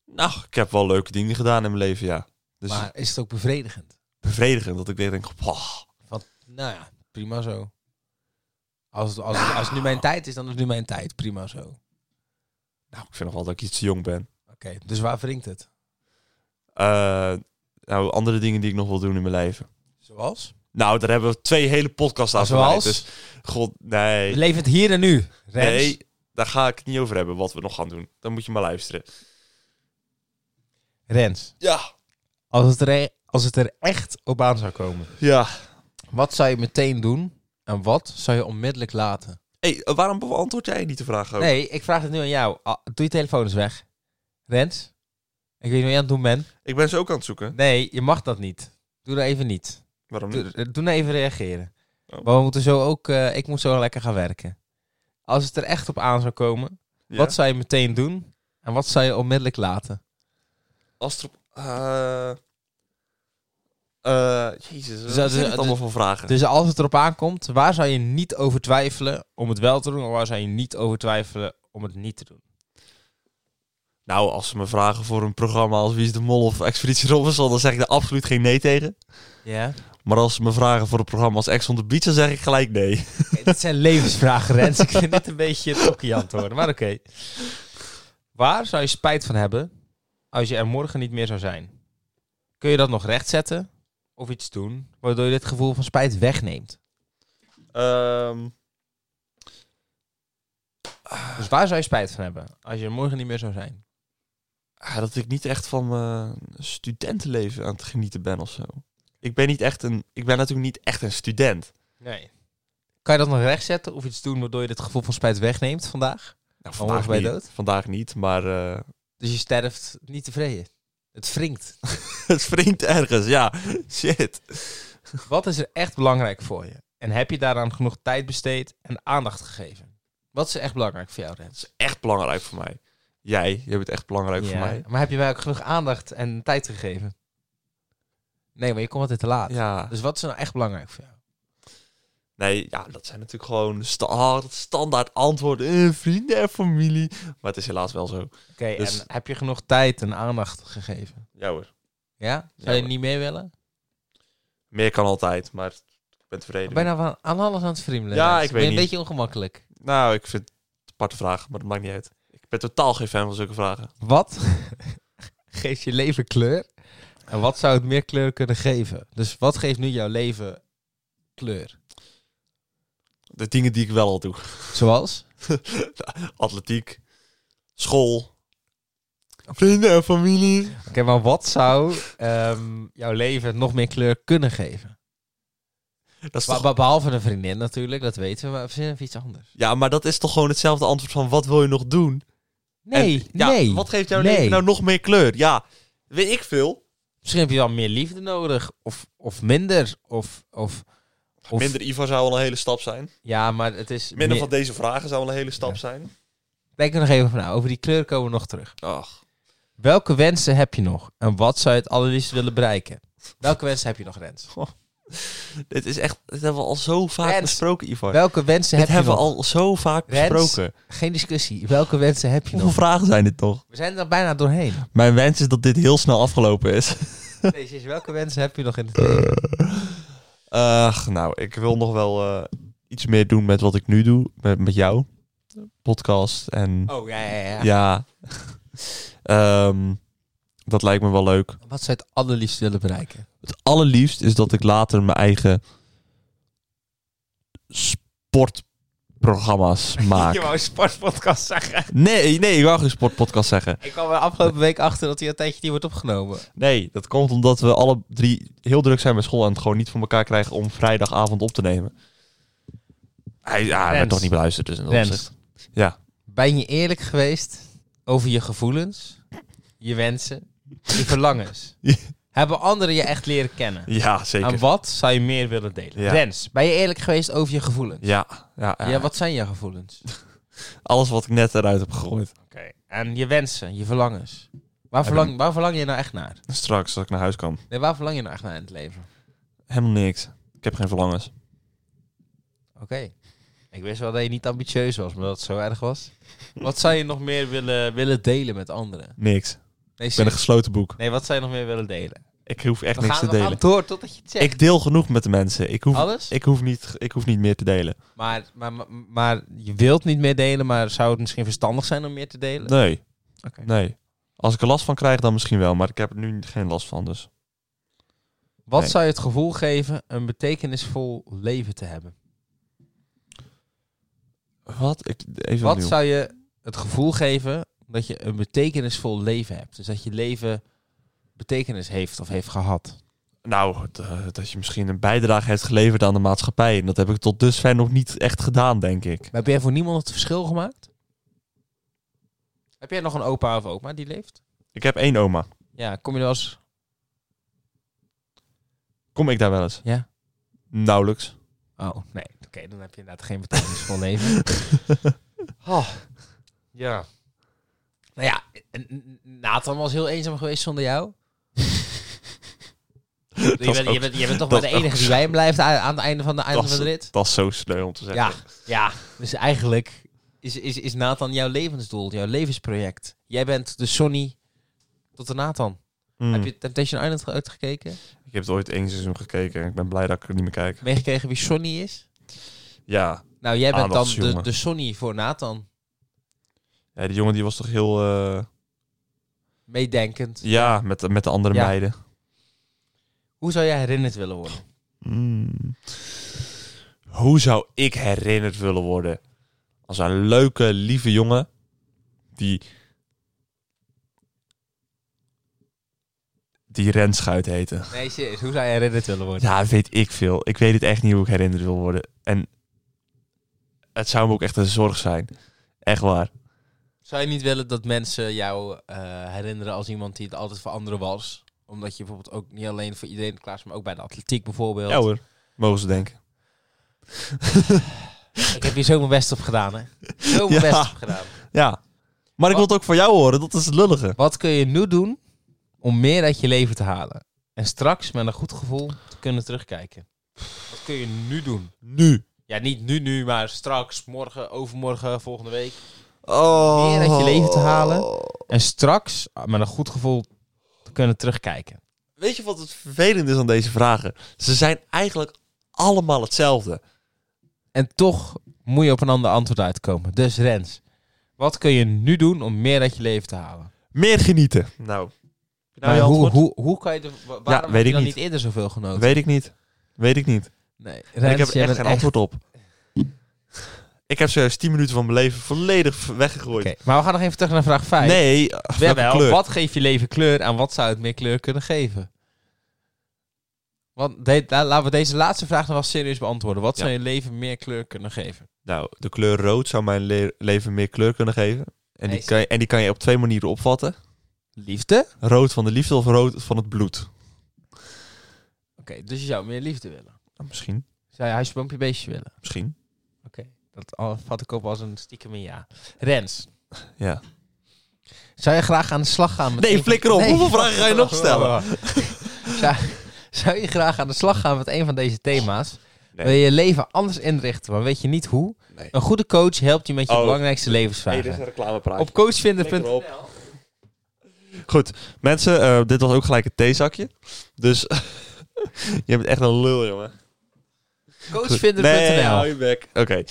[SPEAKER 1] Nou, ik heb wel leuke dingen gedaan in mijn leven, ja. Dus
[SPEAKER 2] Maar is het ook bevredigend?
[SPEAKER 1] bevredigend dat ik weer denk, "Pah."
[SPEAKER 2] Want, nou ja, prima zo. Als het, als, het- als het nu mijn tijd is, dan is het nu mijn tijd. Prima zo. Oké,
[SPEAKER 1] nou, ik vind nog wel dat ik iets te jong ben.
[SPEAKER 2] dus waar wringt het?
[SPEAKER 1] Eh, nou, andere dingen die ik nog wil doen in mijn leven.
[SPEAKER 2] Zoals?
[SPEAKER 1] Nou, daar hebben we twee hele podcasts aan
[SPEAKER 2] Zoals?
[SPEAKER 1] verwijt. Dus, god,
[SPEAKER 2] We
[SPEAKER 1] nee.
[SPEAKER 2] leven het hier en nu, Rens.
[SPEAKER 1] Nee, daar ga ik het niet over hebben wat we nog gaan doen. Dan moet je maar luisteren.
[SPEAKER 2] Rens,
[SPEAKER 1] Ja.
[SPEAKER 2] als het, er, e- als het er echt op aan zou komen,
[SPEAKER 1] Ja.
[SPEAKER 2] wat zou je meteen doen en wat zou je onmiddellijk laten?
[SPEAKER 1] hey, eh, waarom beantwoord jij niet de vraag ook?
[SPEAKER 2] Nee, ik vraag het nu aan jou. Ah, doe je telefoon eens weg. Rens, ik weet niet wat je aan het doen bent.
[SPEAKER 1] Ik ben ze ook aan het zoeken.
[SPEAKER 2] Nee, je mag dat niet. Doe daar even niet.
[SPEAKER 1] Waarom niet?
[SPEAKER 2] Doe, eh, doe nou even reageren.
[SPEAKER 1] Hm. Oh.
[SPEAKER 2] Maar we moeten zo ook, eh, ik moet zo lekker gaan werken. Als het er echt op aan zou komen,
[SPEAKER 1] Ja.
[SPEAKER 2] wat zou je meteen doen en wat zou je onmiddellijk laten?
[SPEAKER 1] Als er op... eh, eh, jezus, wat
[SPEAKER 2] Dus dat
[SPEAKER 1] zijn
[SPEAKER 2] is-
[SPEAKER 1] dit
[SPEAKER 2] dat-
[SPEAKER 1] allemaal voor vragen?
[SPEAKER 2] Dus als het erop aankomt, waar zou je niet over twijfelen om het wel te doen? Of waar zou je niet over twijfelen om het niet te doen?
[SPEAKER 1] Nou, als ze me vragen voor een programma als Wie is de Mol of Expeditie Robinson, dan zeg ik er absoluut geen nee tegen.
[SPEAKER 2] Ja.
[SPEAKER 1] Maar als ze me vragen voor een programma als Ex on the Beach, dan zeg ik gelijk nee.
[SPEAKER 2] dit zijn levensvragen, Rens. Ik vind dit een beetje tokkie antwoorden, maar oké. Waar zou je spijt van hebben als je er morgen niet meer zou zijn? Kun je dat nog rechtzetten? Of iets doen, waardoor je dit gevoel van spijt wegneemt.
[SPEAKER 1] Ehm,
[SPEAKER 2] Dus waar zou je spijt van hebben? Als je er morgen niet meer zou zijn.
[SPEAKER 1] ah, dat ik niet echt van mijn studentenleven aan het genieten ben of zo. Ik ben, niet echt een, ik ben natuurlijk niet echt een student.
[SPEAKER 2] Nee. Kan je dat nog rechtzetten of iets doen waardoor je dit gevoel van spijt wegneemt vandaag?
[SPEAKER 1] Nou,
[SPEAKER 2] morgen ben je
[SPEAKER 1] niet.
[SPEAKER 2] dood?
[SPEAKER 1] Vandaag niet, maar eh,
[SPEAKER 2] Dus je sterft niet tevreden. Het wringt.
[SPEAKER 1] het wringt ergens. Ja, shit.
[SPEAKER 2] Wat is er echt belangrijk voor je? En heb je daaraan genoeg tijd besteed en aandacht gegeven? Wat is er echt belangrijk voor jou,
[SPEAKER 1] Dat
[SPEAKER 2] Rens?
[SPEAKER 1] is echt belangrijk voor mij. Jij, jij bent echt belangrijk voor
[SPEAKER 2] Ja,
[SPEAKER 1] mij.
[SPEAKER 2] Maar heb je mij ook genoeg aandacht en tijd gegeven? Nee, maar je komt altijd te laat.
[SPEAKER 1] Ja.
[SPEAKER 2] Dus wat is er nou echt belangrijk voor jou?
[SPEAKER 1] Nee, ja, dat zijn natuurlijk gewoon sta- ah, standaard antwoorden. Eh, vrienden en familie. Maar het is helaas wel zo.
[SPEAKER 2] Oké,
[SPEAKER 1] Dus-
[SPEAKER 2] en heb je genoeg tijd en aandacht gegeven?
[SPEAKER 1] Ja hoor.
[SPEAKER 2] Ja?
[SPEAKER 1] Ja,
[SPEAKER 2] Zou je
[SPEAKER 1] hoor.
[SPEAKER 2] niet mee willen?
[SPEAKER 1] Meer kan altijd, maar ik ben tevreden.
[SPEAKER 2] Bijna nou van aan alles aan het friemelen.
[SPEAKER 1] Ja,
[SPEAKER 2] Rens.
[SPEAKER 1] ik
[SPEAKER 2] Ben
[SPEAKER 1] weet
[SPEAKER 2] je een
[SPEAKER 1] niet.
[SPEAKER 2] beetje ongemakkelijk.
[SPEAKER 1] Nou, ik vind het een aparte vraag, maar dat maakt niet uit. Ik ben totaal geen fan van zulke vragen.
[SPEAKER 2] Wat geeft je leven kleur? En wat zou het meer kleur kunnen geven? Dus wat geeft nu jouw leven kleur?
[SPEAKER 1] De dingen die ik wel al doe.
[SPEAKER 2] Zoals?
[SPEAKER 1] Atletiek, school, vrienden en familie.
[SPEAKER 2] Oké, maar wat zou ehm, jouw leven nog meer kleur kunnen geven?
[SPEAKER 1] Dat is
[SPEAKER 2] Be-
[SPEAKER 1] toch,
[SPEAKER 2] be- behalve een vriendin natuurlijk, dat weten we, maar verzin even iets anders.
[SPEAKER 1] ja, maar dat is toch gewoon hetzelfde antwoord van wat wil je nog doen?
[SPEAKER 2] Nee,
[SPEAKER 1] En- ja,
[SPEAKER 2] nee.
[SPEAKER 1] Wat geeft jouw
[SPEAKER 2] nee.
[SPEAKER 1] leven nou nog meer kleur? Ja, weet ik veel.
[SPEAKER 2] Misschien heb je wel meer liefde nodig, of, of minder, of, of, of-
[SPEAKER 1] Minder IVA zou al een hele stap zijn.
[SPEAKER 2] Ja, maar het is...
[SPEAKER 1] Minder
[SPEAKER 2] meer-
[SPEAKER 1] van deze vragen zou al een hele stap
[SPEAKER 2] Ja.
[SPEAKER 1] zijn.
[SPEAKER 2] Denk er nog even van na, over die kleur komen we nog terug.
[SPEAKER 1] Ach.
[SPEAKER 2] Welke wensen heb je nog? En wat zou je het allerliefst willen bereiken? Welke wensen heb je nog, Rens?
[SPEAKER 1] Dit is echt, dit hebben we al zo vaak
[SPEAKER 2] Rens,
[SPEAKER 1] besproken, Ivar.
[SPEAKER 2] Welke wensen
[SPEAKER 1] dit
[SPEAKER 2] heb je
[SPEAKER 1] hebben
[SPEAKER 2] nog?
[SPEAKER 1] we al zo vaak
[SPEAKER 2] Rens,
[SPEAKER 1] besproken.
[SPEAKER 2] Geen discussie. Welke wensen heb je
[SPEAKER 1] Hoeveel
[SPEAKER 2] nog?
[SPEAKER 1] vragen zijn dit toch?
[SPEAKER 2] We zijn er bijna doorheen.
[SPEAKER 1] Mijn wens is dat dit heel snel afgelopen is.
[SPEAKER 2] Deze is, welke wensen heb je nog in het leven?
[SPEAKER 1] Ach, nou, ik wil nog wel eh, iets meer doen met wat ik nu doe. Met, met jou. Podcast en...
[SPEAKER 2] Oh, ja, ja, ja.
[SPEAKER 1] Ja. Ehm, dat lijkt me wel leuk.
[SPEAKER 2] Wat zou je het allerliefst willen bereiken?
[SPEAKER 1] Het allerliefst is dat ik later mijn eigen sportprogramma's maak.
[SPEAKER 2] een sportpodcast zeggen.
[SPEAKER 1] Nee, nee, ik wou geen sportpodcast zeggen.
[SPEAKER 2] Ik kwam er afgelopen week achter dat hij een tijdje niet wordt opgenomen.
[SPEAKER 1] Nee, dat komt omdat we alle drie heel druk zijn met school en het gewoon niet voor elkaar krijgen om vrijdagavond op te nemen. Hij, ja, hij
[SPEAKER 2] Rens.
[SPEAKER 1] werd toch niet beluisterd, dus in dat opzicht.
[SPEAKER 2] Rens.
[SPEAKER 1] Ja.
[SPEAKER 2] Ben je eerlijk geweest over je gevoelens, je wensen, je verlangens?
[SPEAKER 1] Ja.
[SPEAKER 2] Hebben anderen je echt leren kennen?
[SPEAKER 1] Ja, zeker.
[SPEAKER 2] Aan wat zou je meer willen delen?
[SPEAKER 1] Ja.
[SPEAKER 2] Rens, ben je eerlijk geweest over je gevoelens?
[SPEAKER 1] Ja, ja, ja.
[SPEAKER 2] Ja, wat zijn je gevoelens?
[SPEAKER 1] alles wat ik net eruit heb gegooid.
[SPEAKER 2] En je wensen, je verlangens. Waar
[SPEAKER 1] Ja,
[SPEAKER 2] verlang, waar verlang je nou echt naar?
[SPEAKER 1] Straks, als ik naar huis kan.
[SPEAKER 2] Nee, waar verlang je nou echt naar in het leven?
[SPEAKER 1] Helemaal niks. Ik heb geen verlangens.
[SPEAKER 2] Oké. Ik wist wel dat je niet ambitieus was, maar dat het zo erg was. Wat zou je nog meer willen, willen delen met anderen?
[SPEAKER 1] Niks.
[SPEAKER 2] Nee,
[SPEAKER 1] Ik ben een
[SPEAKER 2] serieus.
[SPEAKER 1] gesloten boek.
[SPEAKER 2] nee, wat zou je nog meer willen delen?
[SPEAKER 1] Ik hoef echt
[SPEAKER 2] we
[SPEAKER 1] niks
[SPEAKER 2] gaan,
[SPEAKER 1] te
[SPEAKER 2] we
[SPEAKER 1] delen.
[SPEAKER 2] gaan door totdat je het zegt.
[SPEAKER 1] Ik deel genoeg met de mensen. Ik hoef,
[SPEAKER 2] Alles?
[SPEAKER 1] ik hoef, niet, ik hoef niet meer te delen.
[SPEAKER 2] Maar, maar, maar, maar je wilt niet meer delen, maar zou het misschien verstandig zijn om meer te delen?
[SPEAKER 1] Nee.
[SPEAKER 2] Oké.
[SPEAKER 1] nee. Als ik er last van krijg, dan misschien wel. Maar ik heb er nu geen last van, dus...
[SPEAKER 2] Wat
[SPEAKER 1] Nee.
[SPEAKER 2] zou je het gevoel geven een betekenisvol leven te hebben?
[SPEAKER 1] Wat? Ik, even
[SPEAKER 2] Wat
[SPEAKER 1] opnieuw.
[SPEAKER 2] zou je het gevoel geven dat je een betekenisvol leven hebt? Dus dat je leven betekenis heeft of heeft gehad.
[SPEAKER 1] Nou, d- dat je misschien een bijdrage hebt geleverd aan de maatschappij. En dat heb ik tot dusver nog niet echt gedaan, denk ik.
[SPEAKER 2] Maar heb jij voor niemand het verschil gemaakt? Heb jij nog een opa of oma die leeft?
[SPEAKER 1] Ik heb één oma.
[SPEAKER 2] Ja, kom je wel eens...
[SPEAKER 1] Kom ik daar wel eens?
[SPEAKER 2] Ja.
[SPEAKER 1] Nauwelijks.
[SPEAKER 2] Oh, nee. Oké, dan heb je inderdaad geen betekenisvol leven. Oh, ja. Nou ja, en- en Nathan was heel eenzaam geweest zonder jou. Je
[SPEAKER 1] is
[SPEAKER 2] bent, je,
[SPEAKER 1] ook-
[SPEAKER 2] bent, je bent toch
[SPEAKER 1] dat
[SPEAKER 2] maar de
[SPEAKER 1] is ook
[SPEAKER 2] enige die
[SPEAKER 1] zo.
[SPEAKER 2] bij hem blijft aan, aan het einde van de, einde
[SPEAKER 1] is-
[SPEAKER 2] van de rit.
[SPEAKER 1] Dat is zo sneu om te zeggen.
[SPEAKER 2] Ja, ja. Dus eigenlijk is, is, is Nathan jouw levensdoel, jouw levensproject. Jij bent de Sonny tot de Nathan.
[SPEAKER 1] Hmm.
[SPEAKER 2] Heb je Temptation Island ge- uitgekeken?
[SPEAKER 1] Ik heb het ooit één seizoen gekeken. en Ik ben blij dat ik er niet meer kijk.
[SPEAKER 2] Meegekregen wie Sonny is?
[SPEAKER 1] Ja.
[SPEAKER 2] Nou, jij bent dan de,
[SPEAKER 1] Aandachtsjongen.
[SPEAKER 2] de Sonny voor Nathan.
[SPEAKER 1] ja, die jongen die was toch heel... eh,
[SPEAKER 2] Meedenkend.
[SPEAKER 1] Ja, met, met de andere
[SPEAKER 2] Ja.
[SPEAKER 1] meiden.
[SPEAKER 2] Hoe zou jij herinnerd willen worden?
[SPEAKER 1] Mm. Hoe zou ik herinnerd willen worden? Als een leuke, lieve jongen die. die Renschuit heette.
[SPEAKER 2] Nee, serieus. Hoe zou jij herinnerd willen worden?
[SPEAKER 1] Ja, weet ik veel. Ik weet het echt niet hoe ik herinnerd wil worden. En het zou me ook echt een zorg zijn. Echt waar.
[SPEAKER 2] Zou je niet willen dat mensen jou eh, herinneren als iemand die het altijd voor anderen was? Omdat je bijvoorbeeld ook niet alleen voor iedereen klaar is, maar ook bij de atletiek bijvoorbeeld.
[SPEAKER 1] Ja hoor, mogen ze denken.
[SPEAKER 2] Ik heb hier zo mijn best op gedaan, hè? Zo mijn
[SPEAKER 1] Ja.
[SPEAKER 2] best op gedaan.
[SPEAKER 1] Ja. Maar ik wil het ook voor jou horen, dat is het lullige.
[SPEAKER 2] Wat kun je nu doen om meer uit je leven te halen? En straks met een goed gevoel te kunnen terugkijken. Wat kun je nu doen?
[SPEAKER 1] Nu.
[SPEAKER 2] Ja, niet nu, nu, maar straks, morgen, overmorgen, volgende week.
[SPEAKER 1] Oh.
[SPEAKER 2] Meer uit je leven te halen. En straks ah, met een goed gevoel te kunnen terugkijken.
[SPEAKER 1] Weet je wat het vervelend is aan deze vragen? Ze zijn eigenlijk allemaal hetzelfde.
[SPEAKER 2] En toch moet je op een ander antwoord uitkomen. Dus Rens, wat kun je nu doen om meer uit je leven te halen?
[SPEAKER 1] Meer genieten. Nou,
[SPEAKER 2] maar hoe, hoe, hoe kan je... De, wa- waarom heb
[SPEAKER 1] weet
[SPEAKER 2] je
[SPEAKER 1] ik
[SPEAKER 2] dan
[SPEAKER 1] niet.
[SPEAKER 2] eerder zoveel genoten?
[SPEAKER 1] weet ik niet. Weet ik niet.
[SPEAKER 2] nee, Rens,
[SPEAKER 1] ik heb er
[SPEAKER 2] jij
[SPEAKER 1] echt
[SPEAKER 2] bent
[SPEAKER 1] geen antwoord op. Ik heb serieus 10 minuten van mijn leven volledig weggegooid.
[SPEAKER 2] Oké, maar we gaan nog even terug naar vraag 5.
[SPEAKER 1] Nee, eh, welke
[SPEAKER 2] Jawel,
[SPEAKER 1] kleur?
[SPEAKER 2] wat geeft je leven kleur en wat zou het meer kleur kunnen geven? Want de- la- laten we deze laatste vraag nog wel serieus beantwoorden. Wat
[SPEAKER 1] Ja.
[SPEAKER 2] zou je leven meer kleur kunnen geven?
[SPEAKER 1] Nou, de kleur rood zou mijn le- leven meer kleur kunnen geven. En die,
[SPEAKER 2] Deze.
[SPEAKER 1] kan je, en die kan je op twee manieren opvatten.
[SPEAKER 2] Liefde? Oké,
[SPEAKER 1] Rood van de liefde of rood van het bloed.
[SPEAKER 2] dus je zou meer liefde willen.
[SPEAKER 1] Nou, misschien,
[SPEAKER 2] Zou je huisje, boompje, beestje willen?
[SPEAKER 1] misschien.
[SPEAKER 2] Oké, dat al- vat ik op als een stiekem een ja. Rens,
[SPEAKER 1] Ja.
[SPEAKER 2] zou je graag aan de slag gaan met...
[SPEAKER 1] Nee,
[SPEAKER 2] een van-
[SPEAKER 1] flikker op. Hoeveel vragen ga je nog stellen?
[SPEAKER 2] zou, zou je graag aan de slag gaan met een van deze thema's?
[SPEAKER 1] Nee.
[SPEAKER 2] Wil je je leven anders inrichten, maar weet je niet hoe?
[SPEAKER 1] Nee.
[SPEAKER 2] Een goede coach helpt je met je
[SPEAKER 1] Oh.
[SPEAKER 2] belangrijkste levensvragen.
[SPEAKER 1] reclamepraatje.
[SPEAKER 2] Op coachvinder.nl
[SPEAKER 1] Goed, mensen, eh, dit was ook gelijk het theezakje. Dus je bent echt een lul, jongen. Nee, hou
[SPEAKER 2] Coachvinder.nl
[SPEAKER 1] je bek. Oké.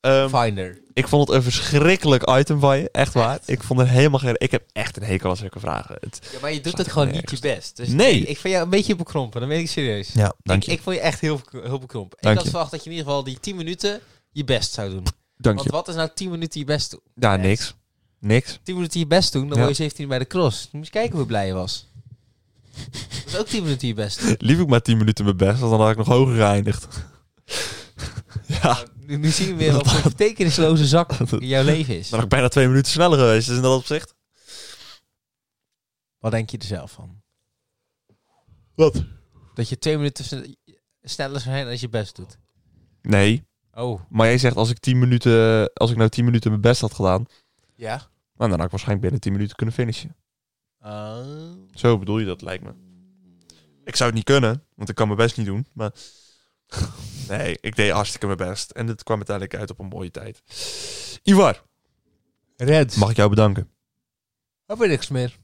[SPEAKER 1] Ehm,
[SPEAKER 2] Finder.
[SPEAKER 1] ik vond het een verschrikkelijk item van je. Echt waar. Ik vond er helemaal geen... Ik heb echt een hekel aan zulke vragen. Het...
[SPEAKER 2] Ja, maar je doet
[SPEAKER 1] Slaat
[SPEAKER 2] het gewoon niet
[SPEAKER 1] nergens
[SPEAKER 2] je best. Dus
[SPEAKER 1] Nee.
[SPEAKER 2] Ik, ik vind jou een beetje bekrompen, dan ben ik serieus.
[SPEAKER 1] Ja, dank
[SPEAKER 2] ik,
[SPEAKER 1] je.
[SPEAKER 2] ik vond je echt heel, heel bekrompen.
[SPEAKER 1] Dank
[SPEAKER 2] ik had
[SPEAKER 1] je.
[SPEAKER 2] verwacht dat je in ieder geval die 10 minuten je best zou doen.
[SPEAKER 1] dank
[SPEAKER 2] Want
[SPEAKER 1] je.
[SPEAKER 2] wat is nou 10 minuten je best doen?
[SPEAKER 1] Ja, niks. Niks.
[SPEAKER 2] 10 minuten je best doen, dan
[SPEAKER 1] Ja.
[SPEAKER 2] word je 17 bij de cross. Moet je eens kijken hoe blij je was. Dat is ook 10 minuten je best doen.
[SPEAKER 1] Liep ik maar 10 minuten mijn best, want dan had ik nog hoger geëindigd. ja,
[SPEAKER 2] Nou, Nu, nu zien we weer wat voor betekenisloze zak in jouw leven is.
[SPEAKER 1] dan had ik bijna twee minuten sneller geweest. Dus in dat opzicht...
[SPEAKER 2] Wat denk je er zelf van?
[SPEAKER 1] Wat?
[SPEAKER 2] Dat je 2 minuten sne- sneller zou zijn als je best doet.
[SPEAKER 1] Nee,
[SPEAKER 2] Oh,
[SPEAKER 1] maar jij zegt als ik 10 minuten... Als ik nou 10 minuten mijn best had gedaan...
[SPEAKER 2] ja.
[SPEAKER 1] Nou, dan had ik waarschijnlijk binnen 10 minuten kunnen finishen.
[SPEAKER 2] Eh.
[SPEAKER 1] Zo bedoel je dat, lijkt me. Ik zou het niet kunnen, want ik kan mijn best niet doen. Maar nee, ik deed hartstikke mijn best. En het kwam uiteindelijk uit op een mooie tijd. Ivar,
[SPEAKER 2] Reds.
[SPEAKER 1] mag ik jou bedanken?
[SPEAKER 2] Heb je Oh, niks meer?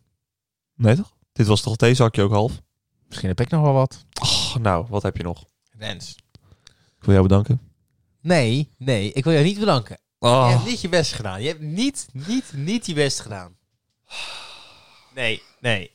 [SPEAKER 1] Nee toch? Dit was toch het zakje ook half?
[SPEAKER 2] Misschien heb ik nog wel wat.
[SPEAKER 1] Oh, nou, wat heb je nog?
[SPEAKER 2] Rens.
[SPEAKER 1] Ik wil jou bedanken.
[SPEAKER 2] Nee, nee, ik wil jou niet bedanken. Je
[SPEAKER 1] Oh,
[SPEAKER 2] hebt niet je best gedaan. Je hebt niet, niet, niet je best gedaan. Nee, nee.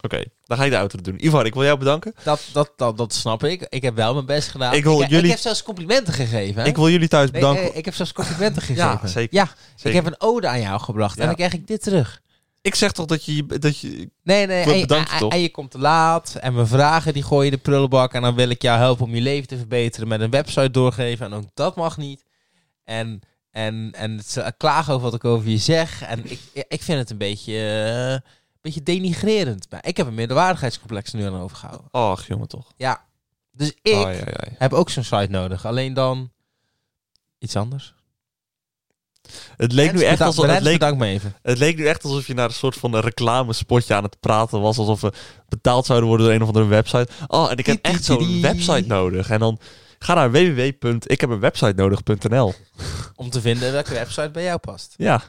[SPEAKER 1] Oké, dan ga ik de outro doen. Ivar, ik wil jou bedanken.
[SPEAKER 2] Dat, dat, dat, dat snap ik. Ik heb wel mijn best gedaan.
[SPEAKER 1] Ik wil
[SPEAKER 2] ik,
[SPEAKER 1] jullie-
[SPEAKER 2] heb zelfs complimenten gegeven. Hè?
[SPEAKER 1] Ik wil jullie thuis
[SPEAKER 2] Nee,
[SPEAKER 1] bedanken.
[SPEAKER 2] eh, ik heb zelfs complimenten gegeven.
[SPEAKER 1] Ja, zeker,
[SPEAKER 2] Ja, ik
[SPEAKER 1] Zeker.
[SPEAKER 2] heb een ode aan jou gebracht.
[SPEAKER 1] Ja.
[SPEAKER 2] En dan krijg ik dit terug.
[SPEAKER 1] Ik zeg toch dat je... Dat je...
[SPEAKER 2] Nee, nee.
[SPEAKER 1] Wel
[SPEAKER 2] En,
[SPEAKER 1] bedankt,
[SPEAKER 2] en-
[SPEAKER 1] toch?
[SPEAKER 2] en je komt te laat. En mijn vragen die gooi je de prullenbak. En dan wil ik jou helpen om je leven te verbeteren. Met een website doorgeven. En ook dat mag niet. En, en, en het eh, klagen over wat ik over je zeg. En ik, ik vind het een beetje, eh, een beetje denigrerend. Maar ik heb een minderwaardigheidscomplex nu aan overgehouden.
[SPEAKER 1] Ach, jongen toch.
[SPEAKER 2] Ja. Dus ik
[SPEAKER 1] Ai, ai, ai.
[SPEAKER 2] heb ook zo'n site nodig. Alleen dan iets anders.
[SPEAKER 1] Het leek nu
[SPEAKER 2] Rens,
[SPEAKER 1] echt
[SPEAKER 2] bedankt-
[SPEAKER 1] alsof... Het
[SPEAKER 2] Rens,
[SPEAKER 1] leek,
[SPEAKER 2] bedankt me even.
[SPEAKER 1] Het leek nu echt alsof je naar een soort van een reclamespotje aan het praten was. Alsof we betaald zouden worden door een of andere website. Oh, en ik heb echt zo'n website nodig. En dan ga naar www.ikhebeenwebsitenodig.nl
[SPEAKER 2] Om te vinden welke website bij jou past.
[SPEAKER 1] Ja, oké.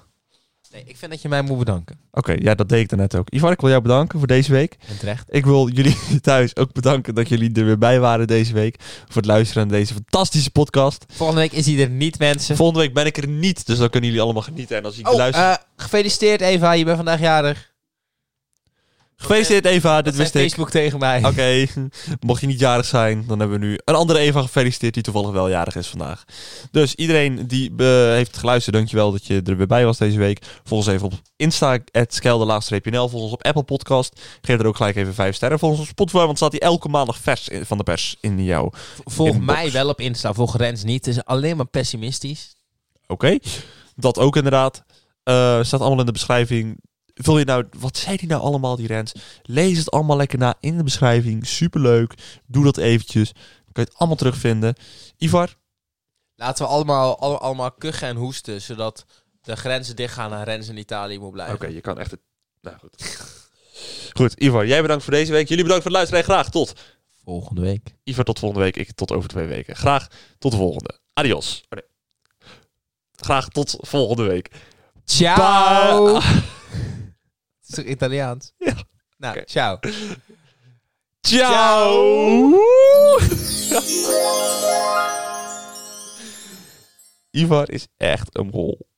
[SPEAKER 2] Nee, ik vind dat je mij moet bedanken.
[SPEAKER 1] ja, dat deed ik daarnet ook. Ivar, ik wil jou bedanken voor deze week.
[SPEAKER 2] En terecht.
[SPEAKER 1] Ik wil jullie thuis ook bedanken dat jullie er weer bij waren deze week. Voor het luisteren naar deze fantastische podcast.
[SPEAKER 2] Volgende week is hij er niet, mensen.
[SPEAKER 1] Volgende week ben ik er niet, dus dan kunnen jullie allemaal genieten. En als je
[SPEAKER 2] Oh,
[SPEAKER 1] luistert...
[SPEAKER 2] eh, gefeliciteerd Eva, je bent vandaag jarig.
[SPEAKER 1] Gefeliciteerd Eva, dit
[SPEAKER 2] Zei
[SPEAKER 1] wist ik.
[SPEAKER 2] Facebook tegen mij.
[SPEAKER 1] Oké, mocht je niet jarig zijn, dan hebben we nu een andere Eva gefeliciteerd die toevallig wel jarig is vandaag. Dus iedereen die eh, heeft geluisterd, dankjewel dat je er weer bij was deze week. Volg ons even op Insta, @skelderlaagstreepje_nl. Volg ons op Apple Podcast. Geef er ook gelijk even vijf sterren. Volg ons op Spotify, want staat die elke maandag vers in- van de pers in jou. Oké.
[SPEAKER 2] Volg
[SPEAKER 1] Inbox.
[SPEAKER 2] mij wel op Insta, volg Rens niet. Het is alleen maar pessimistisch.
[SPEAKER 1] Dat ook inderdaad. Eh, staat allemaal in de beschrijving. Vul je nou, wat zei die nou allemaal, die rants? Lees het allemaal lekker na in de beschrijving. Superleuk. Doe dat eventjes. Dan kan je het allemaal terugvinden. Ivar,
[SPEAKER 2] Laten we allemaal, al- allemaal kuchen en hoesten, zodat de grenzen dichtgaan en Rens in Italië moet blijven.
[SPEAKER 1] Oké, je kan echt... het- Nou, goed. goed, Ivar, jij bedankt voor deze week. Jullie bedankt voor het luisteren en graag tot...
[SPEAKER 2] Volgende week.
[SPEAKER 1] Ivar, tot volgende week. Ik tot over twee weken. Graag tot de volgende. Adios. Oh, nee. Graag tot volgende week.
[SPEAKER 2] Ciao!
[SPEAKER 1] Bye.
[SPEAKER 2] Het is toch Italiaans?
[SPEAKER 1] Ja.
[SPEAKER 2] Nou,
[SPEAKER 1] Oké.
[SPEAKER 2] ciao.
[SPEAKER 1] Ciao! Ivar is echt een rol.